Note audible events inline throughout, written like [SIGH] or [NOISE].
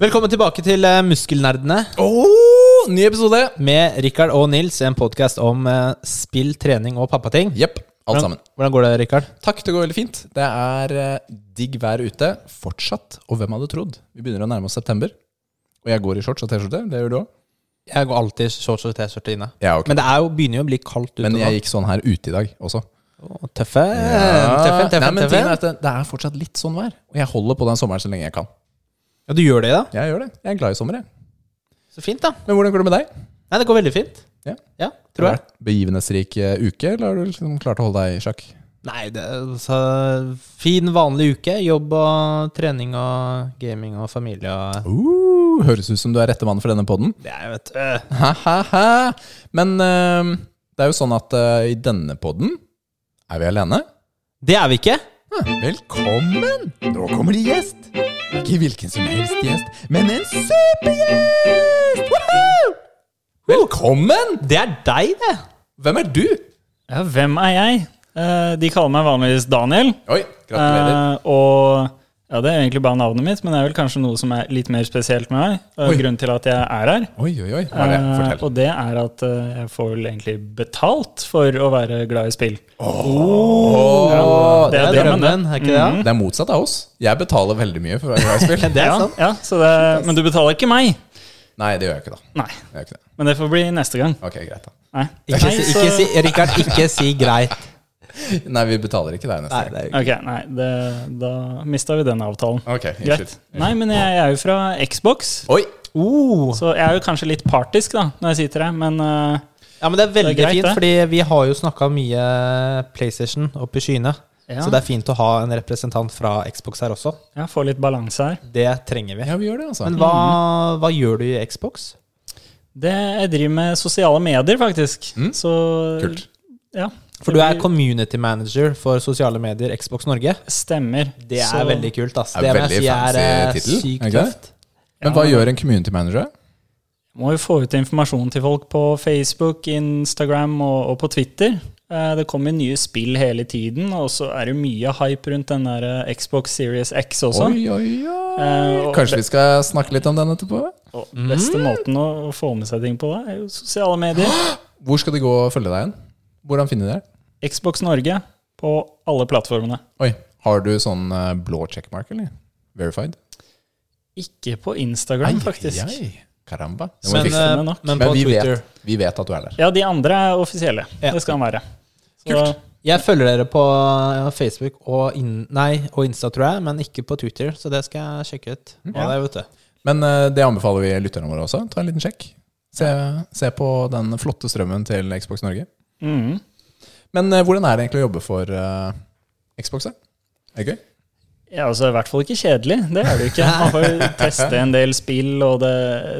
Velkommen tilbake til eh, Muskelnerdene Oh, ny episode! med Rikard og Nils. En podkast om eh, spill, trening og pappating. Jepp. Alt sammen. Hvordan, hvordan går det, Rikard? Takk, det går veldig fint. Det er eh, digg vær ute. Fortsatt. Og hvem hadde trodd? Vi begynner å nærme oss september. Og jeg går i shorts og T-skjorte. Det gjør du òg. Jeg går alltid i shorts og T-skjorte inne. Ja, ok. Men det er jo, begynner jo å bli kaldt ute Men nå. jeg gikk sånn her ute i dag også. Å, Tøffe, tøffe, Nei, tøffe, men tingen er tøffe. at det, det er fortsatt litt sånn vær. Og jeg holder på den sommeren så lenge jeg kan. Ja, du gjør det, da? Jeg gjør det. Jeg er glad i sommer, jeg. Så fint, da. Men hvordan går det med deg? Nei, det går veldig fint. Ja. Ja, tror jeg. Har det vært Begivenhetsrik eh, uke, eller har du liksom klart å holde deg i sjakk? Nei, det er altså Fin, vanlig uke. Jobb og trening og gaming og familie og Uh, høres ut som du er rette mann for denne podden. Det er jo et øh. Ha-ha-ha. Men eh, det er jo sånn at eh, i denne podden er vi alene. Ah, Det er vi ikke. Velkommen! Nå kommer det gjest. Ikke hvilken som helst gjest, men en supergjest! Woohoo! Velkommen! Det er deg, det. Hvem er du? Ja, hvem er jeg? Eh, De kaller meg vanligvis Daniel. Oi, gratulerer. Eh, og ja, det er egentlig bare navnet mitt, men det er vel kanskje noe som er litt mer spesielt med meg. og Oi. grunnen til at jeg er her. Oi, oi, oi. Hva er det? Eh, Fortell. og det er at eh, jeg får vel egentlig betalt for å være glad i spill. Åh, det er det, Mm. drømmen, er ikke det? det er motsatt av oss. Jeg betaler veldig mye for å være glad i [LAUGHS] spill. Det er Ja, sant. ja, så det, men du betaler ikke meg! Nei, det gjør jeg ikke, da. Nei, Jeg gjør ikke det. men det får bli neste gang. Ok, greit da. Nei. Ikke Nei, si, så- ikke si, Rikard, ikke si greit. Nei, vi betaler ikke deg neste Nei, gang. det er jo Ok, nei, det, da mista vi den avtalen. Ok, Greit. unnskyld. Nei, men jeg, jeg er jo fra Xbox, Oi! oh. så jeg er jo kanskje litt partisk da, når jeg sitter her, men eh, Ja, men det er veldig Det er greit, fint, det. fordi vi har jo snakka mye PlayStation opp i skyene. Ja. Så det er fint å ha en representant fra Xbox her også. Ja, få litt balanse her. Det trenger vi. Ja, vi gjør det, altså. Men hva, hva gjør du i Xbox? Det, jeg driver med sosiale medier, faktisk. Mm. Så, Kult. Ja. For du er community manager for sosiale medier Xbox Norge. Stemmer. Det er Så- veldig kult, ass. Det Det er må jeg si veldig er eh, fancy titel, er sykt ikke det? tøft. Men hva gjør en community manager? Må jo få ut informasjon til folk på Facebook, Instagram og, og på Twitter. Eh, Det kommer nye spill hele tiden, og så er det jo mye hype rundt den der eh, Xbox Series X sånn? også. Oi, oi, Eh, oi. og- Kanskje vi skal snakke litt om den etterpå? Og beste Mm. måten å, å få med seg ting på da, er jo sosiale medier. [GASPS] Hvor skal de gå og følge deg igjen? Hvordan finner de deg? Xbox Norge på alle plattformene. Oi, har du sånn eh, blå checkmark, eller? Verified? Ikke på Instagram, faktisk. Ai, ai. Caramba. Det må Men, vi fikse. fikse det eh, nok. men Men på vi Twitter vet, vi vet at du er der. Ja, de andre er offisielle. Ja. Det skal han være. Så, Kult. Jeg følger dere på eh, Facebook og, in, nei, og Insta, tror jeg, men ikke på Twitter, så det skal jeg sjekke ut. Ja, det er, vet du. Men eh, det anbefaler vi lytterne våre også. Ta en liten sjekk. Se, se på den flotte strømmen til Xbox Norge. Mhm. Men eh, hvordan er det egentlig å jobbe for eh, Xbox? da? Er det gøy? Ja, altså I hvert fall ikke kjedelig. Det er det jo ikke. Man [LAUGHS] får jo teste en del spill, og det,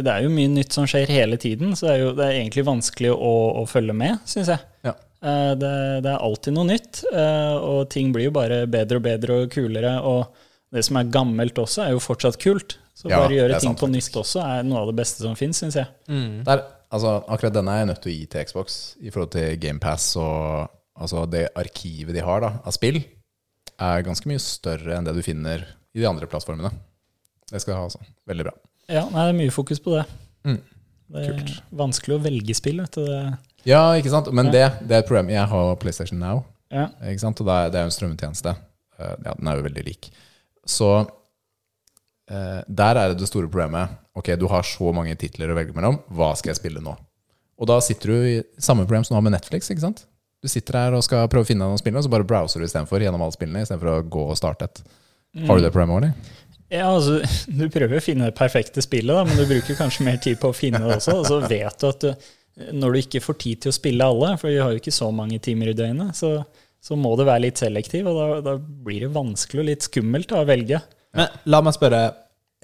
det er jo mye nytt som skjer hele tiden. Så det er jo det er egentlig vanskelig å, å følge med, syns jeg. Ja. Eh, Det, det er alltid noe nytt, eh, og ting blir jo bare bedre og bedre og kulere. Og det som er gammelt også, er jo fortsatt kult. Så Ja, bare det er gjøre ting sant, på nytt også er noe av det beste som fins, syns jeg. Der, altså, akkurat denne er jeg nødt til å gi til Xbox i forhold til GamePass og altså, det arkivet de har da, av spill, er ganske mye større enn det du finner i de andre plattformene. Det skal jeg ha, altså. Veldig bra. Ja, nei, det er mye fokus på det. Mm. Det er vanskelig å velge spill, vet du. Det- Ja, ikke sant? Men det, det er et problem. Jeg har PlayStation Now, Ja. ikke sant? og det er, det er jo en strømmetjeneste. Eh, Ja, den er jo veldig lik. Så eh, der er det det store problemet. Ok, du har så mange titler å velge mellom. Hva skal jeg spille nå? Og da sitter du i samme problem som du har med Netflix. ikke sant? Du sitter her og skal prøve å finne noen spill, og så bare browser du istedenfor gjennom alle spillene. istedenfor å gå og starte et. Har du det problemet, Oli? Ja, altså, [LAUGHS] Du prøver å finne det perfekte spillet, da, men du bruker kanskje mer tid på å finne det også. Og så vet du at du, når du ikke får tid til å spille alle, for vi har jo ikke så mange timer i døgnet, så, så må du være litt selektiv, og da, da blir det vanskelig og litt skummelt da, å velge. Men la meg spørre.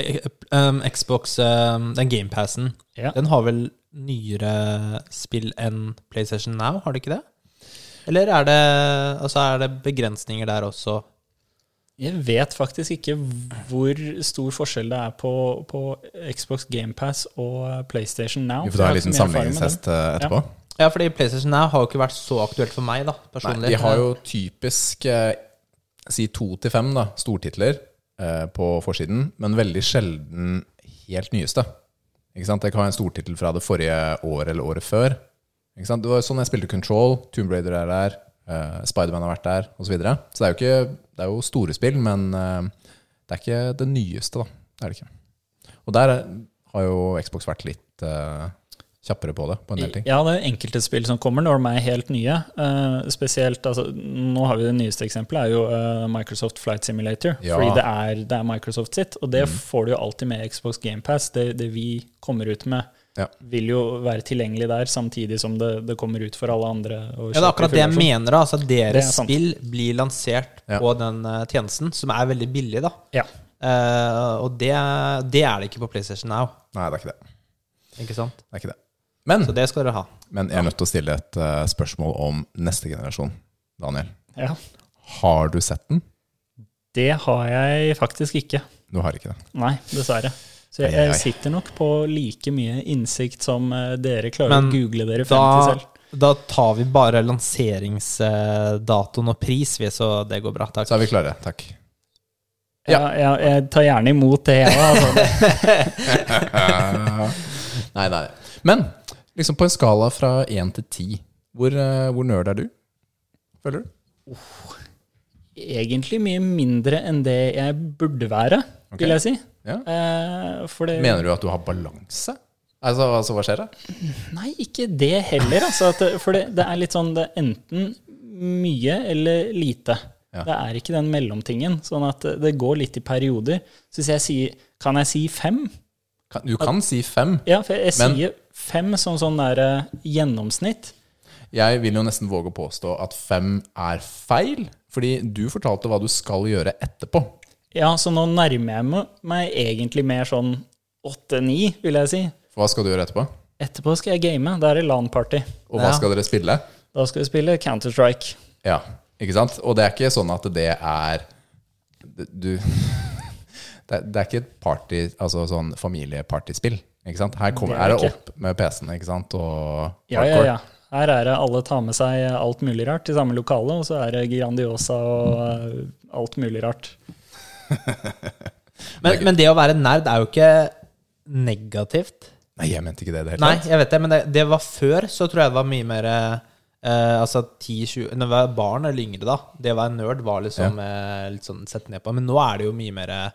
eh, Um, Xbox, um, den GamePassen, Ja. den har vel nyere spill enn PlayStation Now, har det ikke det? Eller er det, altså er det begrensninger der også? Jeg vet faktisk ikke hvor stor forskjell det er på, på Xbox GamePass og eh, PlayStation Now. Vi får ta en Jeg har ikke liten så mye erfaring med dem. sammenligningstest eh, etterpå. Ja, fordi PlayStation Now har jo ikke vært så aktuelt for meg, da, personlig. Nei, de har jo typisk eh, si to til fem da, stortitler eh, på forsiden, men veldig sjelden helt nyeste. Ikke sant? Jeg kan ha en stortittel fra det forrige året eller året før. Ikke sant? Det var jo sånn jeg spilte Control, Tomb Raider er der, eh, Spiderman har vært der, osv. Så, videre. så det er jo ikke Det er jo store spill, men eh, det er ikke det nyeste, da. Det er det ikke. Og der er- har jo Xbox vært litt eh, kjappere på det, på en del ting. Ja, det er enkelte spill som kommer når de er helt nye. Eh, spesielt, altså, Nå har vi det nyeste eksempelet, er jo eh, Microsoft Flight Simulator. Ja. Mm. Fordi det er, det er Microsoft sitt, og det får du jo alltid med Xbox GamePass. Det, det vi kommer ut med, Ja. vil jo være tilgjengelig der, samtidig som det, det kommer ut for alle andre. og Ja, det er kjøper i akkurat det jeg full versjon. mener. da, Altså, at Det er deres sant. spill blir lansert Ja. på den eh, tjenesten, som er veldig billig, da. Ja. Eh, og det, det er det ikke på PlayStation Now. Nei, det er ikke det. Ikke sant? det, er ikke det. Men, Så det skal dere ha. men jeg er nødt til å stille et eh, spørsmål om neste generasjon, Daniel. ja. Har du sett den? Det har jeg faktisk ikke. Du har ikke det. Nei, dessverre. Så jeg, Ai, ai, ai. jeg sitter nok på like mye innsikt som eh, dere klarer Men å google dere frem til Da, selv. da tar vi bare lanseringsdatoen og pris, vi, så det går bra. Takk. Så er vi klare. Takk. Ja. jeg- jeg tar gjerne imot det, jeg òg. [LAUGHS] Altså. [LAUGHS] Nei, nei. Men liksom på en skala fra én til ti, hvor, eh, hvor nerd er du? Føler du? Egentlig mye mindre enn det jeg burde være, vil jeg si. Ja. Eh, for det Mener du at du har balanse? Altså, altså, hva skjer da? Nei, ikke det heller. Altså, at, det- for det, det er litt sånn det er enten mye eller lite. Ja. Det er ikke den mellomtingen. Sånn at det går litt i perioder. Så hvis jeg sier Kan jeg si fem? Kan- Du kan si fem. Ja, for jeg Men- sier fem som sånn der eh, gjennomsnitt. Jeg vil jo nesten våge å påstå at fem er feil, fordi du fortalte hva du skal gjøre etterpå. Ja, så nå nærmer jeg meg- meg egentlig mer sånn åtte-ni, vil jeg si. For hva skal du gjøre etterpå? Etterpå skal jeg game. Da er det LAN-party. Og hva Ja. skal dere spille? Da skal vi spille Counter-Strike. Ja, ikke sant? Og det er ikke sånn at det er Du [LAUGHS] Det er, det er ikke et party, altså sånn familiepartyspill. Ikke sant? Her kommer, Det er er det det ikke. opp med PC-en ikke sant? og Ja, ja, hardcore. ja. Her er det alle tar med seg alt mulig rart i samme lokale, og så er det Grandiosa og eh, alt mulig rart. Men, men det å være nerd er jo ikke negativt. Nei, jeg mente ikke det i det hele Nei, tatt. jeg vet det, men det, det var før, så tror jeg det var mye mer eh, Altså 10-20 Når jeg var barn eller yngre, da. Det å være nerd var liksom eh, litt sånn sett ned på. Men nå er det jo mye mer eh,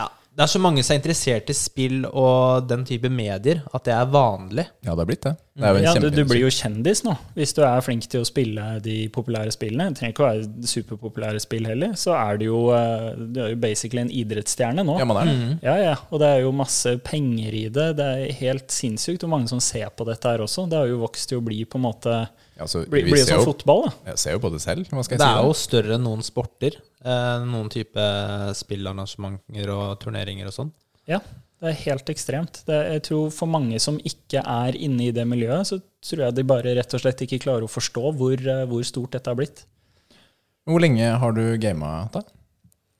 Ja. Det er så mange som er interessert i spill og den type medier, at det er vanlig. Ja, det har blitt det. Det er jo en Mm. Ja, du, du kjempeindustri. blir jo kjendis nå, hvis du er flink til å spille de populære spillene. Det trenger ikke å være superpopulære spill heller. Så er du jo, eh, du er jo basically en idrettsstjerne nå. Ja, man er det. Ja, ja. Og det er jo masse penger i det. Det er helt sinnssykt hvor mange som ser på dette her også. Det har jo vokst til å bli på en måte Ja, så Blir vi bli ser som jo, fotball, da. jeg ser jo på det selv. Hva skal jeg Det er si? jo da? større enn noen sporter. eh, Noen type spillarrangementer og turneringer og sånn. Ja, det er helt ekstremt. Det, jeg tror For mange som ikke er inne i det miljøet, så tror jeg de bare rett og slett ikke klarer å forstå hvor, eh, hvor stort dette har blitt. Hvor lenge har du gama, da?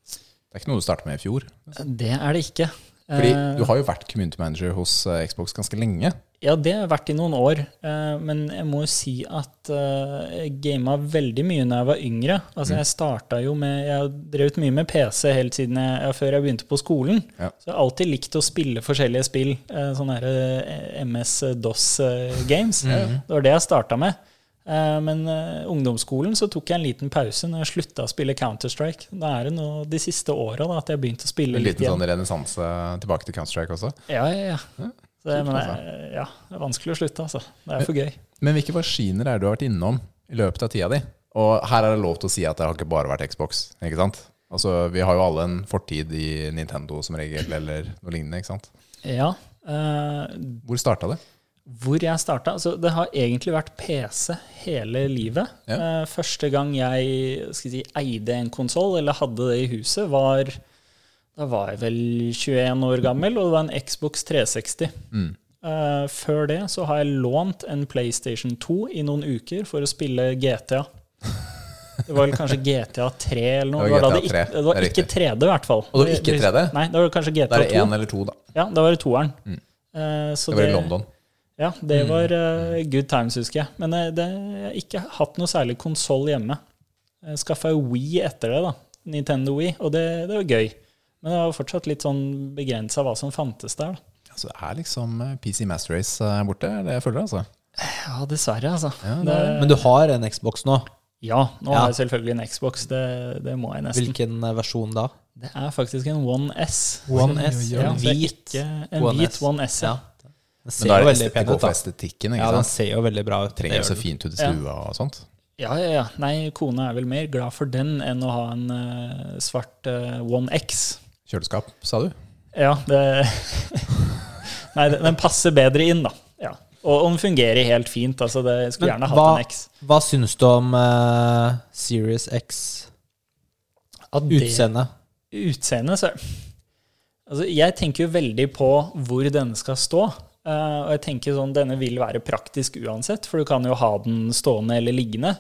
Det er ikke noe du startet med i fjor. Det er det ikke. Fordi Eh, du har jo vært community manager hos eh, Xbox ganske lenge. Ja, det har jeg vært i noen år, eh, men jeg må jo si at eh, jeg gama veldig mye når jeg var yngre. Altså, Mm. Jeg starta jo med Jeg har drevet mye med PC helt siden jeg, ja, før jeg begynte på skolen. Ja. Så jeg har alltid likt å spille forskjellige spill, eh, sånne her, eh, MS-DOS-games. Mm. Det var det jeg starta med. Eh, Men eh, ungdomsskolen så tok jeg en liten pause når jeg slutta å spille Counter-Strike. Da er det nå de siste åra at jeg har begynt å spille En litt liten igjen. sånn renessanse tilbake til Counter-Strike også. Ja, ja, ja. Så, kult, men, altså. eh, ja, det er vanskelig å slutte, altså. Det er for gøy. Men hvilke maskiner er det du har vært innom i løpet av tida di? Og her er det lov til å si at det har ikke bare vært Xbox, ikke sant? Altså, vi har jo alle en fortid i Nintendo som regel, eller noe lignende, ikke sant? Ja. eh, Hvor starta det? hvor jeg starta altså, Det har egentlig vært PC hele livet. Ja. Eh, første gang jeg skal jeg si, eide en konsoll, eller hadde det i huset, var da var jeg vel 21 år gammel, og det var en Xbox 360. Mm. Eh, før det så har jeg lånt en PlayStation 2 i noen uker for å spille GTA. Det var vel kanskje GTA 3 eller noe. Det Det var var, da det, GTA 3, ikke, det var det er ikke 3D, i hvert fall. Og det var ikke 3D? Nei, det var kanskje Da GTA er det 2. én eller to, da. Ja, da var det toeren. Eh, så Mm. Det var i London. Mm. ja, det Mm. var eh, good times, husker jeg. Men eh, det, jeg har ikke hatt noe særlig konsoll hjemme. Jeg skaffa Wii etter det, da. Nintendo Wii, og det, det var gøy. Men det var jo fortsatt litt sånn begrensa hva som fantes der. da. Altså, det er liksom eh, PC Master Race eh, borte, er det jeg føler, altså. Ja, dessverre, altså. Ja, det det, Men du har en Xbox nå. ja nå Ja. har jeg selvfølgelig en Xbox, det, det må jeg nesten. Hvilken eh, versjon da? Det er faktisk en One S. One S. oi, En oi. Ja, så det er hvit. ikke en One hvit S. One S, Ja. ja. Den Men ser jo da er det veldig pen går ut, for da. estetikken, Ja, ikke den sant? ser jo veldig bra ut. Trenger jo så fint. fint ut i Ja. stua og sånt. Ja, ja, ja. Nei, kona er vel mer glad for den enn å ha en eh, svart eh, One X. Kjøleskap, sa du? Ja, det [LAUGHS] Nei, den den passer bedre inn, da. Ja. Og, og den fungerer helt fint. Altså, det, jeg skulle Men gjerne hatt hva- en X. Hva syns du om eh, Series X Ja, det- utseende? Utseende, så Altså, jeg tenker jo veldig på hvor denne skal stå. eh, og jeg tenker sånn, denne vil være praktisk uansett, for du kan jo ha den stående eller liggende.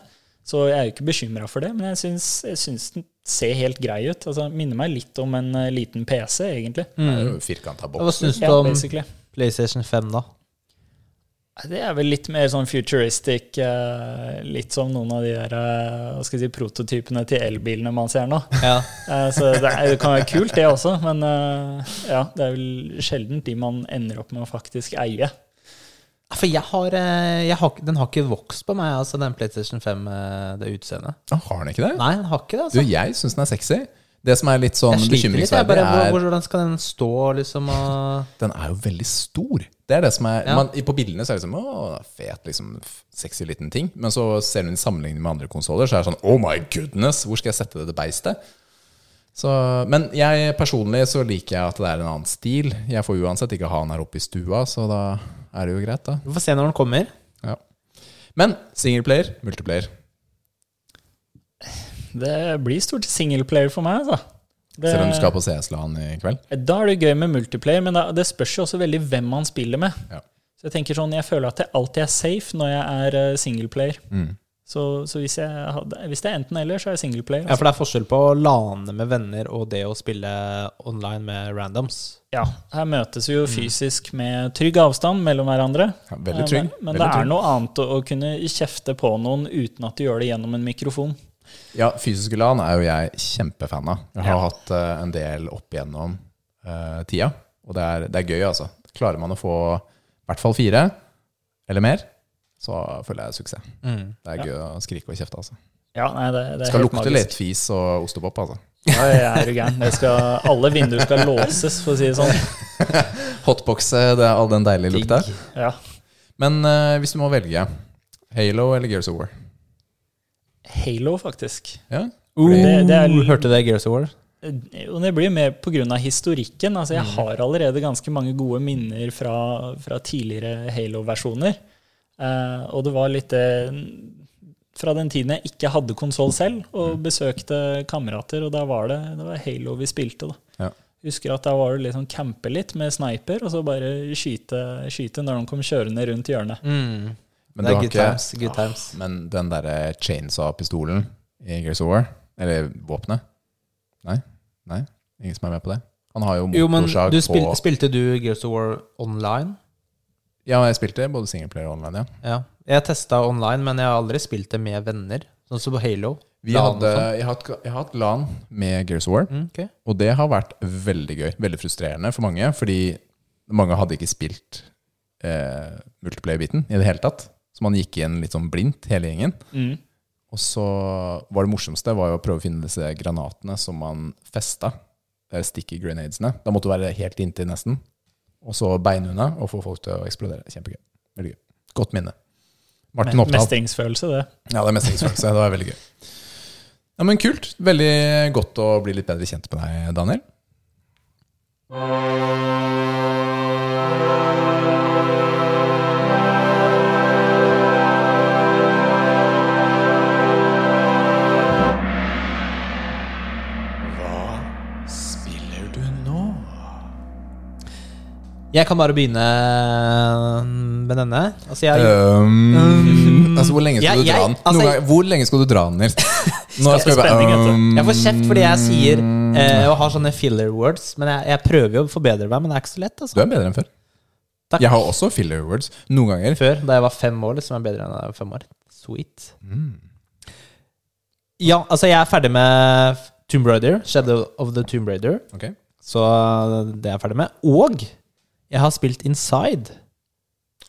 Så jeg er jo ikke bekymra for det, men jeg syns, jeg syns den ser helt grei ut. Altså, Minner meg litt om en eh, liten PC, egentlig. Mm. Firkanta boks. Hva syns du Ja, om basically. PlayStation 5, da? Nei, Det er vel litt mer sånn futuristic, eh, litt som noen av de der eh, hva skal jeg si, prototypene til elbilene man ser nå. Ja. Eh, Så det, er, det kan være kult, det også, men eh, ja, det er vel sjelden de man ender opp med å faktisk eie. [LAUGHS] For jeg har, eh, jeg har ikke- Den har ikke vokst på meg, altså, den PlayStation 5, eh, det utseendet. Ah, har den ikke det? Nei, den har ikke det, altså. Du, jeg syns den er sexy. Det som er litt sånn Jeg sliter litt. Jeg bekymringsverdig, bare, hvor- er hvordan skal den stå, liksom? Og den er jo veldig stor. Det er det som er, Ja. man, i- På bildene så er det liksom Å, fet, liksom, f- sexy liten ting. Men så ser du den i sammenligning med andre konsoller, så er det sånn Oh my goodness, hvor skal jeg sette dette beistet? Så, men jeg personlig så liker jeg at det er en annen stil. Jeg får uansett ikke ha den her oppe i stua, så da er det jo greit, da. Vi får se når den kommer. Ja. Men singleplayer, multiplayer. Det blir stort singleplayer for meg, altså. Det- Eh, Selv om du skal på CS-LAN i kveld. Da er det gøy med multiplayer, men da, det spørs jo også veldig hvem man spiller med. Ja. Så Jeg tenker sånn, jeg føler at jeg alltid er safe når jeg er eh, singleplayer. Mm. Så, så hvis, jeg hadde, hvis det er enten eller, så er jeg altså. singleplayer. Ja, for det er forskjell på å lane med venner og det å spille online med randoms. Ja, her møtes vi jo fysisk med trygg avstand mellom hverandre. Ja, veldig trygg. Men, men veldig det er trygg. noe annet å, å kunne kjefte på noen uten at du gjør det gjennom en mikrofon. Ja, fysiske LAN er jo jeg kjempefan av. Jeg har hatt eh, en del opp igjennom eh, tida, og det er, det er gøy, altså. Klarer man å få i hvert fall fire eller mer, så føler jeg suksess. Mm. Det er gøy å skrike og kjefte, altså. Ja, nei, det, det er Skal helt lukte magisk. litt fis og ostepop, altså. Ja, ja, er du gæren. Det skal, alle vinduer skal låses, for å si det sånn. Hotboxe, eh, det er all den deilige lukta. Ja. Men eh, hvis du må velge, Halo eller Gears of War? Halo, faktisk. Ja? Det- det er- Uh, Hørte du det, Gears of War? Eh, Og det blir mer pga. historikken. Altså, jeg har allerede ganske mange gode minner fra, fra tidligere Halo-versjoner. Eh, og det var litt det Fra den tiden jeg ikke hadde konsoll selv, og besøkte kamerater, og da var det, det var Halo vi spilte. da. Ja. Husker at da var det liksom campe litt med sniper, og så bare skyte, skyte når de kom kjørende rundt hjørnet. Mm. Men, det du er har good ikke, Ah, times. Good times. men den derre chainsaw-pistolen i Gears of War, eller våpenet Nei? Nei? Ingen som er med på det? Han har jo Jo, men motorsag du spil, på spilte du Gears of War online? Ja, jeg spilte både singleplayer og online, ja. Ja. Jeg testa online, men jeg har aldri spilt det med venner. Sånn som på Halo. Vi LAN og hadde, sånn. jeg, har hatt, jeg har hatt LAN med Gears of War, Mm, ok. og det har vært veldig gøy. Veldig frustrerende for mange, fordi mange hadde ikke spilt eh, multiplayer-biten i det hele tatt. Så man gikk igjen litt sånn blindt, hele gjengen. Mm. Og så var det morsomste var jo å prøve å finne disse granatene som man festa. eh, Sticky grenadesene. Da måtte du være helt inntil nesten. Og så beine unna og få folk til å eksplodere. Kjempegøy. Veldig gøy. Godt minne. Martin Me- Oppdal. Mestringsfølelse, det. Ja, det er mestringsfølelse. Det var veldig gøy. Ja, men Kult. Veldig godt å bli litt bedre kjent med deg, Daniel. Hva spiller du nå? Jeg kan bare begynne med denne. Altså, Eh, jeg, altså, hvor lenge skal Jeg- du Um, dra jeg- den? Noen altså- ganger- hvor lenge skal du dra den, [LAUGHS] Nils? Nå skal vi Spenning, vet du. um, jeg får kjeft fordi jeg sier Mm. eh, og har sånne filler words. Men jeg, jeg prøver jo å forbedre meg, men det er ikke så lett. Du Altså. er bedre enn før. Takk. Jeg har også filler words. Noen ganger Før, da jeg var fem år, liksom, er jeg bedre enn da jeg var fem år. Sweet. Ja, altså, jeg er ferdig med Tomb Raider, Shadow of the Tomb Raider. Ok. Så eh, det er jeg ferdig med. Og jeg har spilt Inside.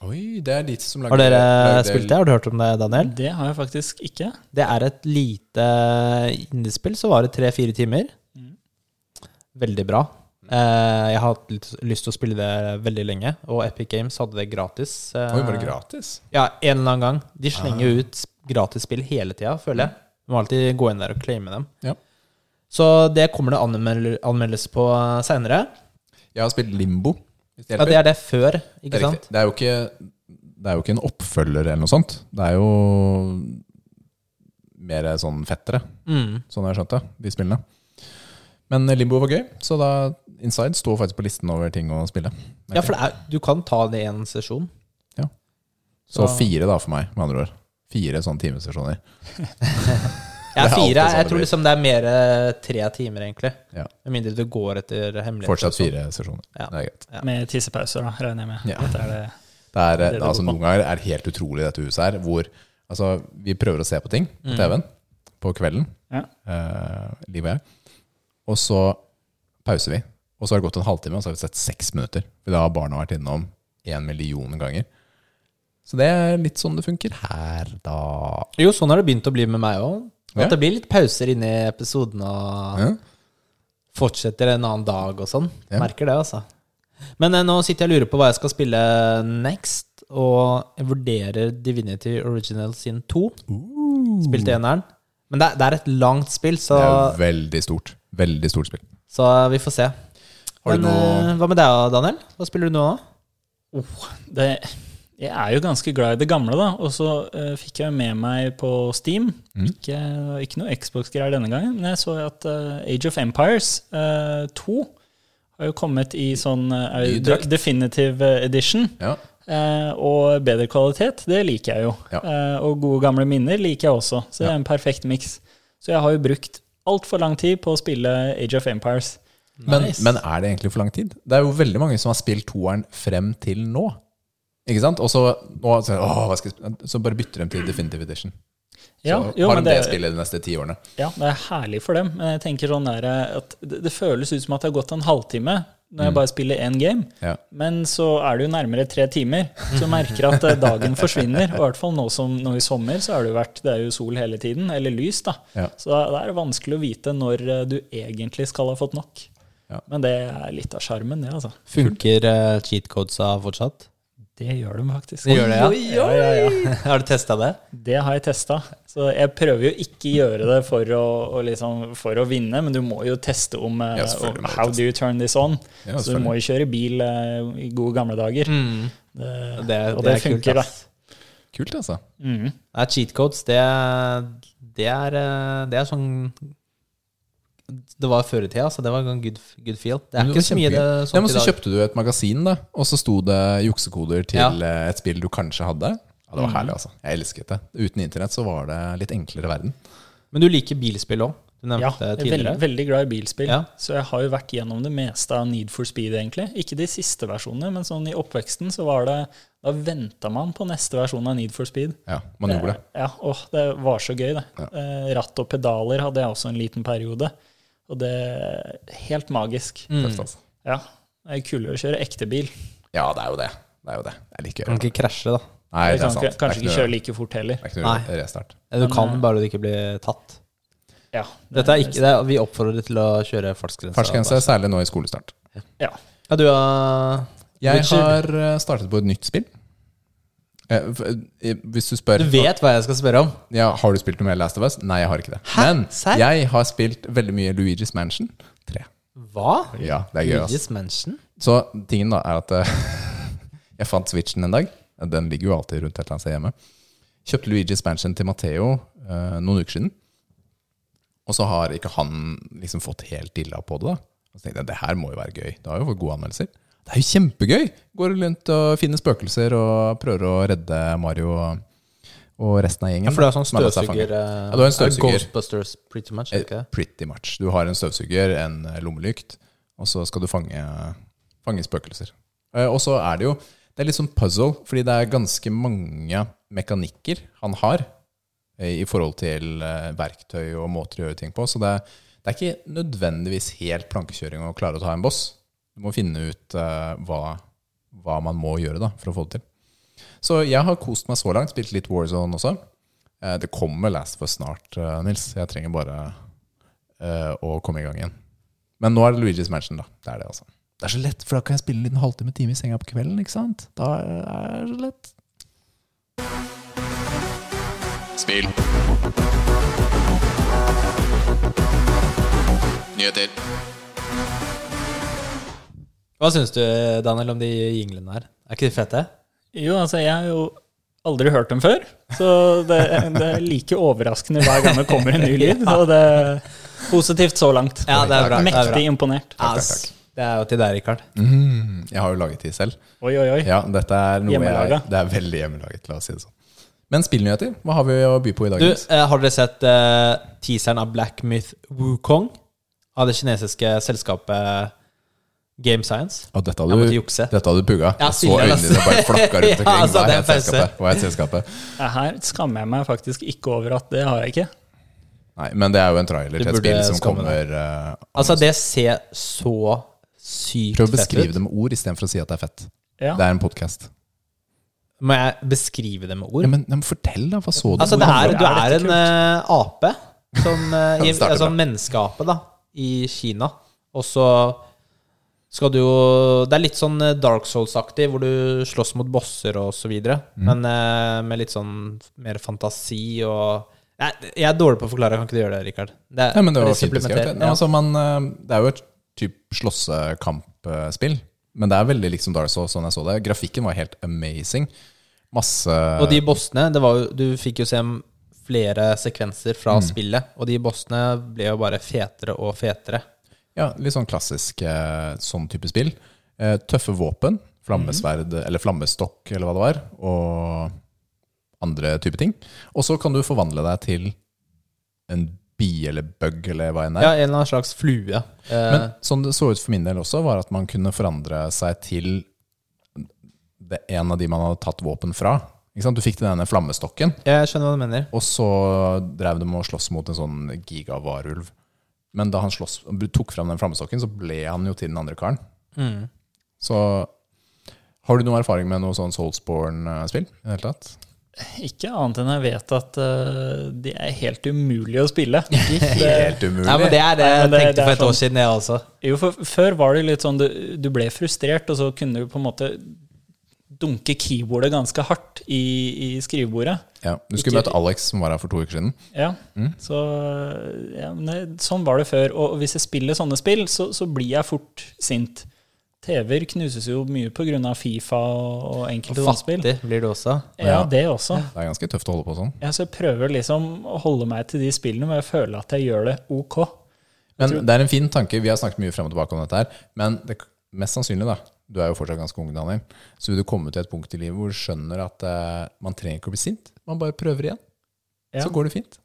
Oi, det er de som lager Har dere lager spilt det? Har du hørt om det, Daniel? Det har jeg faktisk ikke. Det er et lite indiespill, så var det tre-fire timer. Veldig bra. Eh, jeg har hatt litt lyst til å spille det veldig lenge, og Epic Games hadde det gratis. eh, Oi, var det gratis? Ah. Ja, en eller annen gang. De slenger jo ut gratis spill hele tida, føler jeg. Du må alltid gå inn der og claime dem. Ja. Så det kommer det anmel anmeldes på seinere. Jeg har spilt Limbo. Hvis det Ja, hjelper. det er det før, Det ikke er, sant? riktig. det er jo ikke Det er jo ikke en oppfølger eller noe sånt. Det er jo mer sånn fettere, Mm. sånn har jeg skjønt det, de spillene. Men eh, Limbo var gøy, så da Inside står faktisk på listen over ting å spille. Ja, for det er, du kan ta det i en sesjon. så fire da for meg, med andre ord. Fire sånne timesesjoner. Jeg Det er er alltid fire. Jeg sånn det tror blir. liksom det er mer eh, tre timer, egentlig. Ja. Med mindre du går etter hemmeligheter. og Fortsatt sånn. fire sesjoner. Ja. Det er greit. Ja. Med tissepauser, da, regner jeg med. Ja. At det er det. Det er, det altså, går på. noen ganger er det helt utrolig i dette huset her, hvor altså, vi prøver å se på ting på TV-en på kvelden, Ja. eh, Liv og jeg, og så pauser vi. Og så har det gått en halvtime, og så har vi sett seks minutter. For da har barna vært innom en million ganger. Så det er litt sånn det funker her, da. Jo, sånn har det begynt å bli med meg òg. At Ja. det blir litt pauser inni episoden og Ja. fortsetter en annen dag og sånn. Ja. Merker det, altså. Men eh, nå sitter jeg og lurer på hva jeg skal spille next, og jeg vurderer Divinity Original Sin 2. Spilte eneren. Men det er, det er et langt spill, så, Det er jo veldig stort. Veldig stort spill. så vi får se. Har du Men noe- eh, hva med deg, Daniel? Hva spiller du nå? da? Oh, det jeg er jo ganske glad i det gamle, da. Og så eh, fikk jeg med meg på Steam. Mm. Ikke, ikke noe Xbox-greier denne gangen, men jeg så at eh, Age of Empires eh, 2 har jo kommet i sånn eh, er jo Ny de- drakt. definitive edition. Ja. Eh, og bedre kvalitet, det liker jeg jo. Ja. Eh, og gode gamle minner liker jeg også. Så det er en perfekt miks. Så jeg har jo brukt altfor lang tid på å spille Age of Empires. Men, Nice. men er det egentlig for lang tid? Det er jo veldig mange som har spilt toeren frem til nå. Ikke sant? Og så, nå, så, åh, hva skal jeg spille? så bare bytter de til Definitive Edition. Så Ja, jo, har men de det det- spillet de neste ti årene. Ja, det er herlig for dem. Men jeg tenker sånn der, at det, det føles ut som at det har gått en halvtime når jeg bare spiller én game. Ja. Men så er det jo nærmere tre timer, så jeg merker at eh, dagen forsvinner. Og i hvert fall nå som nå i sommer, så har det jo vært Det er jo sol hele tiden, eller lys, da. Ja. Så da da er det vanskelig å vite når eh, du egentlig skal ha fått nok. Ja. Men det er litt av sjarmen, det, altså. Funker eh, cheat codesa fortsatt? Det gjør de faktisk. Det gjør det, ja. [LAUGHS] Ja, ja, ja. Har du testa det? Det har jeg testa. Så jeg prøver jo ikke gjøre det for å, å liksom, for å vinne, men du må jo teste om, eh, Ja, selvfølgelig om må du How teste. do you turn this on? Ja, så du må jo kjøre bil eh, i gode gamle dager. Mm. Det, Det, og det det, er kult, funker, da. ass. Kult, altså. Mhm. Nei, cheat codes, det, det, er, eh, det er sånn Det var før i tida, så det var en good, good feel. Det er Men ikke så mye det kjempegøy. Nei, sånt men i så dag. kjøpte du et magasin, da, og så sto det juksekoder til Ja. Mm. eh, et spill du kanskje hadde. Ja, Det var herlig, altså. Jeg elsket det. Uten internett så var det litt enklere verden. Men du liker bilspill òg. Du Ja, nevnte jeg er veldig, tidligere. veldig glad i bilspill. Ja. Så jeg har jo vært gjennom det meste av Need for Speed, egentlig. Ikke de siste versjonene, men sånn i oppveksten så var det Da venta man på neste versjon av Need for Speed. Ja, man gjorde det. Eh, Ja, åh, det var så gøy, det. Eh, Ratt og pedaler hadde jeg også en liten periode. Og det er helt magisk. Mm. Tøft, altså. Ja. Det er kulere å kjøre ekte bil. Ja, det er jo det. Det er jo det. Det er like Du kan ikke krasje, da. Nei, Du det er kan sant. ikke, Det er kanskje ikke noe- kjøre like fort heller. Det er ikke noe restart. Ja, Du kan bare du ikke blir tatt. Ja, det Dette er ikke, det er, vi oppfordrer til å kjøre fartsgrensa. Fartsgrense, særlig nå i skolestart. Ja. Ja, du har Jeg Richard, har eh, startet på et nytt spill. Eh, f- eh, Hvis du spør Du vet hva jeg skal spørre om. ja, Har du spilt noe mer Last of Us? Nei, jeg har ikke det. Hæ? Men Serr? jeg har spilt veldig mye Luigi's Mansion 3. Hva? Ja, det er gøy, ass. Luigi's Mansion? Så tingen da er at eh, [LAUGHS] jeg fant Switchen en dag. Den ligger jo alltid rundt et eller annet sted hjemme. Kjøpte Luigi's Mansion til Matheo eh, noen uker siden. Og så har ikke han liksom fått helt dilla på det. da. Og så tenkte jeg det her må jo være gøy. Det har jo fått gode anmeldelser. Det er jo kjempegøy! Går rundt og finner spøkelser og prøver å redde Mario og, og resten av gjengen. Ja, for du har sånn som har latt seg fange. støvsuger eh, Ja, du har en støvsuger. Ghostbusters, pretty much. er det Ikke? det? Eh, Pretty much. Du har en støvsuger, en eh, lommelykt, og så skal du fange, fange spøkelser. Eh, Og så er det jo Det er litt sånn puzzle, fordi det er ganske mange mekanikker han har eh, i forhold til eh, verktøy og måter å gjøre ting på. Så det er, Det er ikke nødvendigvis helt plankekjøring å klare å ta en boss. Du må finne ut eh, hva, hva man må gjøre da, for å få det til. Så jeg har kost meg så langt. Spilt litt Warzone også. Eh, det kommer Last for snart, eh, Nils. Jeg trenger bare eh, å komme i gang igjen. Men nå er det Luigi's Mansion, da. Det er det, altså. Det er så lett, for da kan jeg spille en liten halvtime time i senga på kvelden, ikke sant? Da er det så lett. Spill. Nyheter. Hva syns du, Daniel, om de jinglene her? Er ikke de fete? Jo, altså, jeg har jo aldri hørt dem før, så det, det er like overraskende hver gang det kommer en [LAUGHS] ny lyd. Og det er positivt så langt. Ja, det er bra. Det er, bra. Mektig imponert. Ass, det er jo til deg, Rikard. Mm, jeg har jo laget de selv. Oi, oi, oi. Ja, dette er noe jeg, Hjemmelaga. det er veldig hjemmelaget, la oss si det sånn. Men spillnyheter, hva har vi å by på i dag? Du, Nils? eh, har dere sett eh, teaseren av Black Myth Wukong? Av det kinesiske selskapet eh, Game Science? Og Jeg dette hadde måtte du, jukse. dette hadde du pugga. Ja, Jeg så tydelig, øynene altså. dine bare flakka [LAUGHS] rundt Ja, omkring. altså, Hva det er er et selskapet? Hva er et selskapet? Ja, Her skammer jeg meg faktisk ikke over at det har jeg ikke. Nei, men det er jo en trailer Du til et burde spill som skamme kommer eh, Altså, det ser så sykt Prøv å fett beskrive ut. det med ord istedenfor å si at det er fett. Ja. Det er en podkast. Må jeg beskrive det med ord? Ja, men, men fortell, da. Hva så du? Altså, det Hvor- er, du er er en dette eh, ape, som, [LAUGHS] eh, i, det starter altså bra. en menneskeape, da, i Kina. Og så skal du jo Det er litt sånn eh, Dark Souls-aktig, hvor du slåss mot bosser og så videre. Mm. Men eh, med litt sånn mer fantasi og Nei, jeg er dårlig på å forklare, kan ikke du gjøre det, Rikard? Det er- Nei, men det var eller fint supplementere. beskrevet. Nei, Altså, man, eh, det er jo et type slåssekampspill, men det er veldig liksom Dark Souls, sånn jeg så det. Grafikken var helt amazing. Masse Ja. Og de bossene det var jo, Du fikk jo se flere sekvenser fra Mm. spillet, og de bossene ble jo bare fetere og fetere. Ja, litt sånn klassisk eh, sånn type spill. Eh, tøffe våpen, flammesverd eller flammestokk eller hva det var, og andre type ting. Og så kan du forvandle deg til en bi eller bug eller hva enn det er. Ja, en eller annen slags flue. Eh, Men sånn det så ut for min del også, var at man kunne forandre seg til det, en av de man hadde tatt våpen fra. Ikke sant? Du fikk til denne flammestokken, jeg skjønner hva du mener. og så drev de og sloss mot en sånn gigavarulv. Men da han slåss, tok fram den flammestokken, så ble han jo til den andre karen. Så har du noen erfaring med noe sånn Soulsborne-spill? i det hele tatt? Ikke annet enn jeg vet at eh, de er helt umulige å spille. [LAUGHS] Det, Helt umulig. Nei, men Det er det Nei, jeg men det- det tenkte er for et år sånn- siden, jeg også. jo, for før var det litt sånn du, du ble frustrert, og så kunne du på en måte dunke keyboardet ganske hardt i, i skrivebordet. ja, du skulle Ikke- møte Alex, som var her for to uker siden. Ja, Mm. så ja, men det- Sånn var det før. Og hvis jeg spiller sånne spill, så, så blir jeg fort sint. TV-er knuses jo mye pga. Fifa og, og enkelte sånne spill. Fattig blir du også. Ja, Ja. det også. Det er ganske tøft å holde på sånn. Ja, så jeg prøver liksom å holde meg til de spillene, men jeg føler at jeg gjør det ok. Men det er en fin tanke. Vi har snakket mye frem og tilbake om dette her. Men det, mest sannsynlig, da, du er jo fortsatt ganske ung, Daniel, så vil du komme til et punkt i livet hvor du skjønner at eh, man trenger ikke å bli sint. Man bare prøver igjen. Ja. Så går det fint.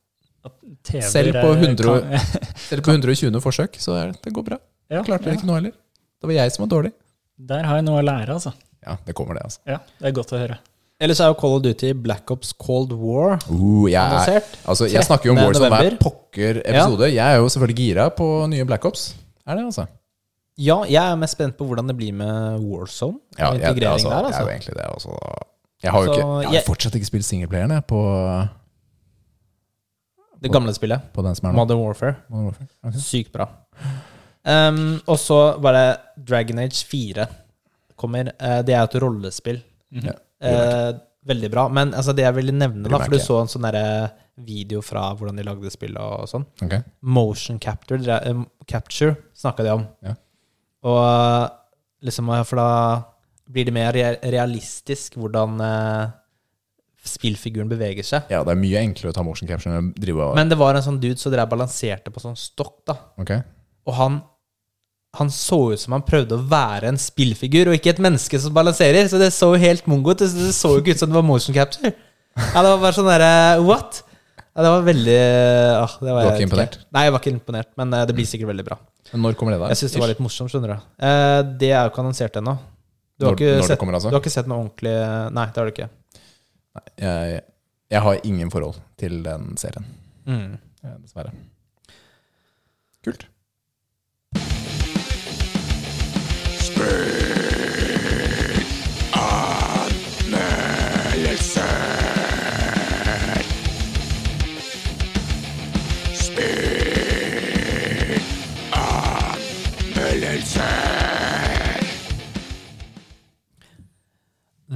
TV-er Selv på er- 100 og- kan- Selv på 120 forsøk, så er det, det går bra. Ja, Klarte dere ja. ikke noe heller. Det var jeg som var dårlig. Der har jeg noe å lære, altså. Ja, det kommer det, altså. Ja, Det er godt å høre. Ellers er jo Call of Duty Black Ops Cold War. Uh, jeg, er, Annonsert. altså, jeg snakker jo om 13. Warzone hver november. pokker episode. Jeg er jo selvfølgelig gira på nye Black Ops. Er det, altså? Ja, jeg er mest spent på hvordan det blir med Warzone. Ja, og jeg, altså, integrering der, Jeg er jo altså. egentlig det. Altså. Jeg har jo Så ikke, jeg har jeg- fortsatt ikke spilt singleplayeren jeg, på, Det gamle spillet. på den som er nå. Modern Warfare. Modern Warfare. Ok. Sykt bra. Um, og så var det Dragon Age 4 kommer. Eh, det er jo et rollespill. Ja. Eh, veldig bra. Men altså, det jeg ville nevne, da, Remake, for du ja. så en sånn derre video fra hvordan de lagde spillet og sånn. Ok. Motion capture, dre- eh, capture snakka de om. Ja. Og eh, liksom eh, For da blir det mer rea- realistisk hvordan eh, spillfiguren beveger seg. ja, det er mye enklere å ta motion capture enn å drive og Men det var en sånn dude som drev og balanserte på sånn stokk, da. Ok. Og han han så ut som han prøvde å være en spillfigur, og ikke et menneske som balanserer. Så det så jo helt mongo ut. Det så jo ikke ut som det var motion capture. Ja, det var bare sånn derre What? Ja, det var veldig ah, det var, Du var jeg ikke vet Nei, jeg var ikke imponert, men eh, det blir sikkert veldig bra. Men når kommer det, da? Jeg syns det var litt morsomt, skjønner du. Eh, det er jo ikke annonsert ennå. Du har, Når- ikke når det sett, kommer, altså? du har ikke sett noe ordentlig Nei, det har du ikke. Jeg, jeg har ingen forhold til den serien, Mm. eh, dessverre. Kult.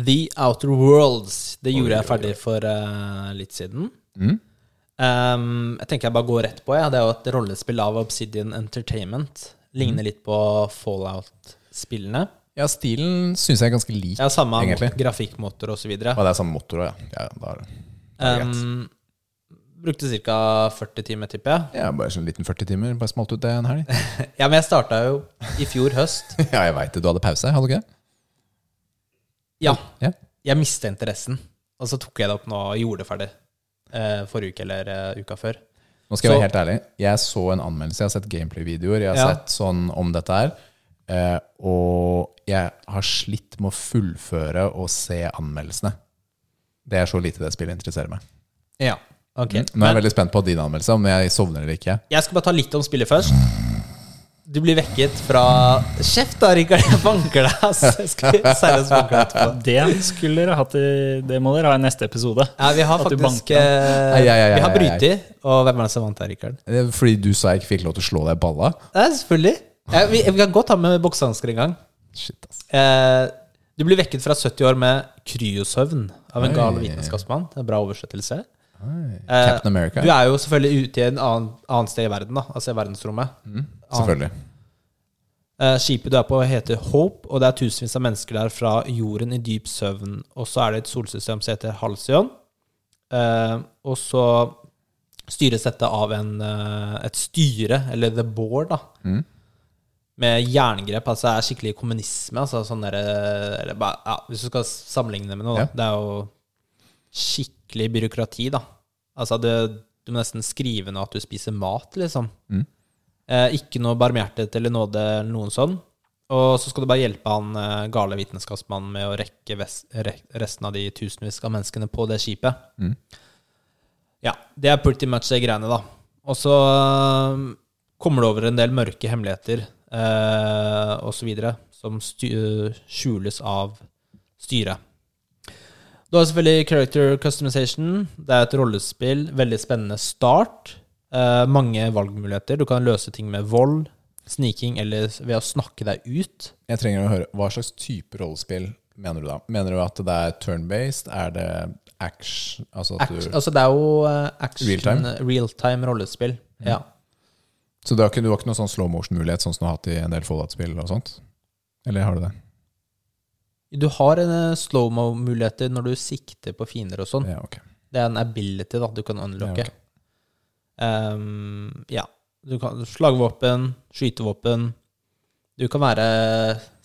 The Outer Worlds. Det gjorde jeg ferdig for eh, litt siden. Mm? Um, jeg tenker jeg bare går rett på. Ja. Det er jo et rollespill av Obsidian Entertainment. Ligner Mm. litt på Fallout-spillene. Ja, stilen syns jeg er ganske lik. Ja, samme Egentlig. grafikkmotor og så videre. Og det er samme motor òg, ja. ja da er det. det er greit. Um, brukte ca. 40 timer, tipper jeg. ja, bare sånn liten 40 timer. Bare smalt ut det en [LAUGHS] helg. Ja, men jeg starta jo i fjor høst. [LAUGHS] ja, jeg veit det. Du hadde pause, hadde du ikke? det? Ja, Ja. jeg mista interessen. Og så tok jeg det opp nå og gjorde det ferdig. eh, forrige uke eller eh, uka før. Nå skal jeg Så- være helt ærlig. Jeg så en anmeldelse, jeg har sett gameplay-videoer, jeg har Ja. sett sånn om dette her. eh, Og jeg har slitt med å fullføre og se anmeldelsene. Det er så lite det spillet interesserer meg. Mm. Ja, ok. Nå er jeg veldig spent på din anmeldelse, om jeg sovner eller ikke. Jeg skal bare ta litt om spillet først. Du blir vekket fra Kjeft, da, Rikard! Jeg banker deg, ass! Jeg [LAUGHS] skal seriøst banke deg etterpå. Det skulle dere hatt i Det må dere ha i neste episode. Ja, vi har At du faktisk banker eh, Ai, ai, ai, Vi har ai, ai. bryter. Og hvem er det som vant her, Rikard? Det er Fordi du sa jeg ikke fikk lov til å slå deg i balla? Ja, selvfølgelig. Ja, vi, vi kan godt ta med boksehansker en gang. Shit, ass. Eh, du blir vekket fra 70 år med kryosøvn av en gal Oi. vitenskapsmann. Det er en bra oversettelse. Eh, Captain America. Du er jo selvfølgelig ute i en annen, annet sted i verden, da. altså i verdensrommet. Selvfølgelig. Eh, skipet du er på, heter Hope, og det er tusenvis av mennesker der fra jorden i dyp søvn. Og så er det et solsystem som heter Halcyon. Eh, og så styres dette av en, eh, et styre, eller the board, da. Med jerngrep. Altså det er skikkelig kommunisme. Altså sånn der, eh, eller, bare- ja, hvis du skal sammenligne det med noe, Ja. da. Det er jo skikkelig byråkrati, da. Altså det, du må nesten skrive ned at du spiser mat, liksom. Eh, ikke noe barmhjertet eller nåde eller noen sånn. Og så skal du bare hjelpe han eh, gale vitenskapsmannen med å rekke ves re resten av de tusenvis av menneskene på det skipet. Ja, det er pretty much det greiene, da. Og så eh, kommer det over en del mørke hemmeligheter eh, osv. som sty- skjules av styret. Du har selvfølgelig character customization. Det er et rollespill. Veldig spennende start. Eh, mange valgmuligheter. Du kan løse ting med vold, sniking eller ved å snakke deg ut. Jeg trenger å høre, Hva slags type rollespill mener du da? Mener du at det er turn-based? Er det action? Altså at Act, du, altså, det er jo eh, action Real-time? Mm. real-time rollespill. Ja. så du har, ikke, du har ikke noe sånn slow motion-mulighet, sånn som du har hatt i en del Fallout-spill og sånt? Eller har du det? Du har en eh, slow-mo-muligheter når du sikter på fiender og sånn. Ja, ok. Det er en ability da, du kan unlocke. Ja, ok. Ehm, ja. Du kan slagvåpen, skytevåpen. Du kan være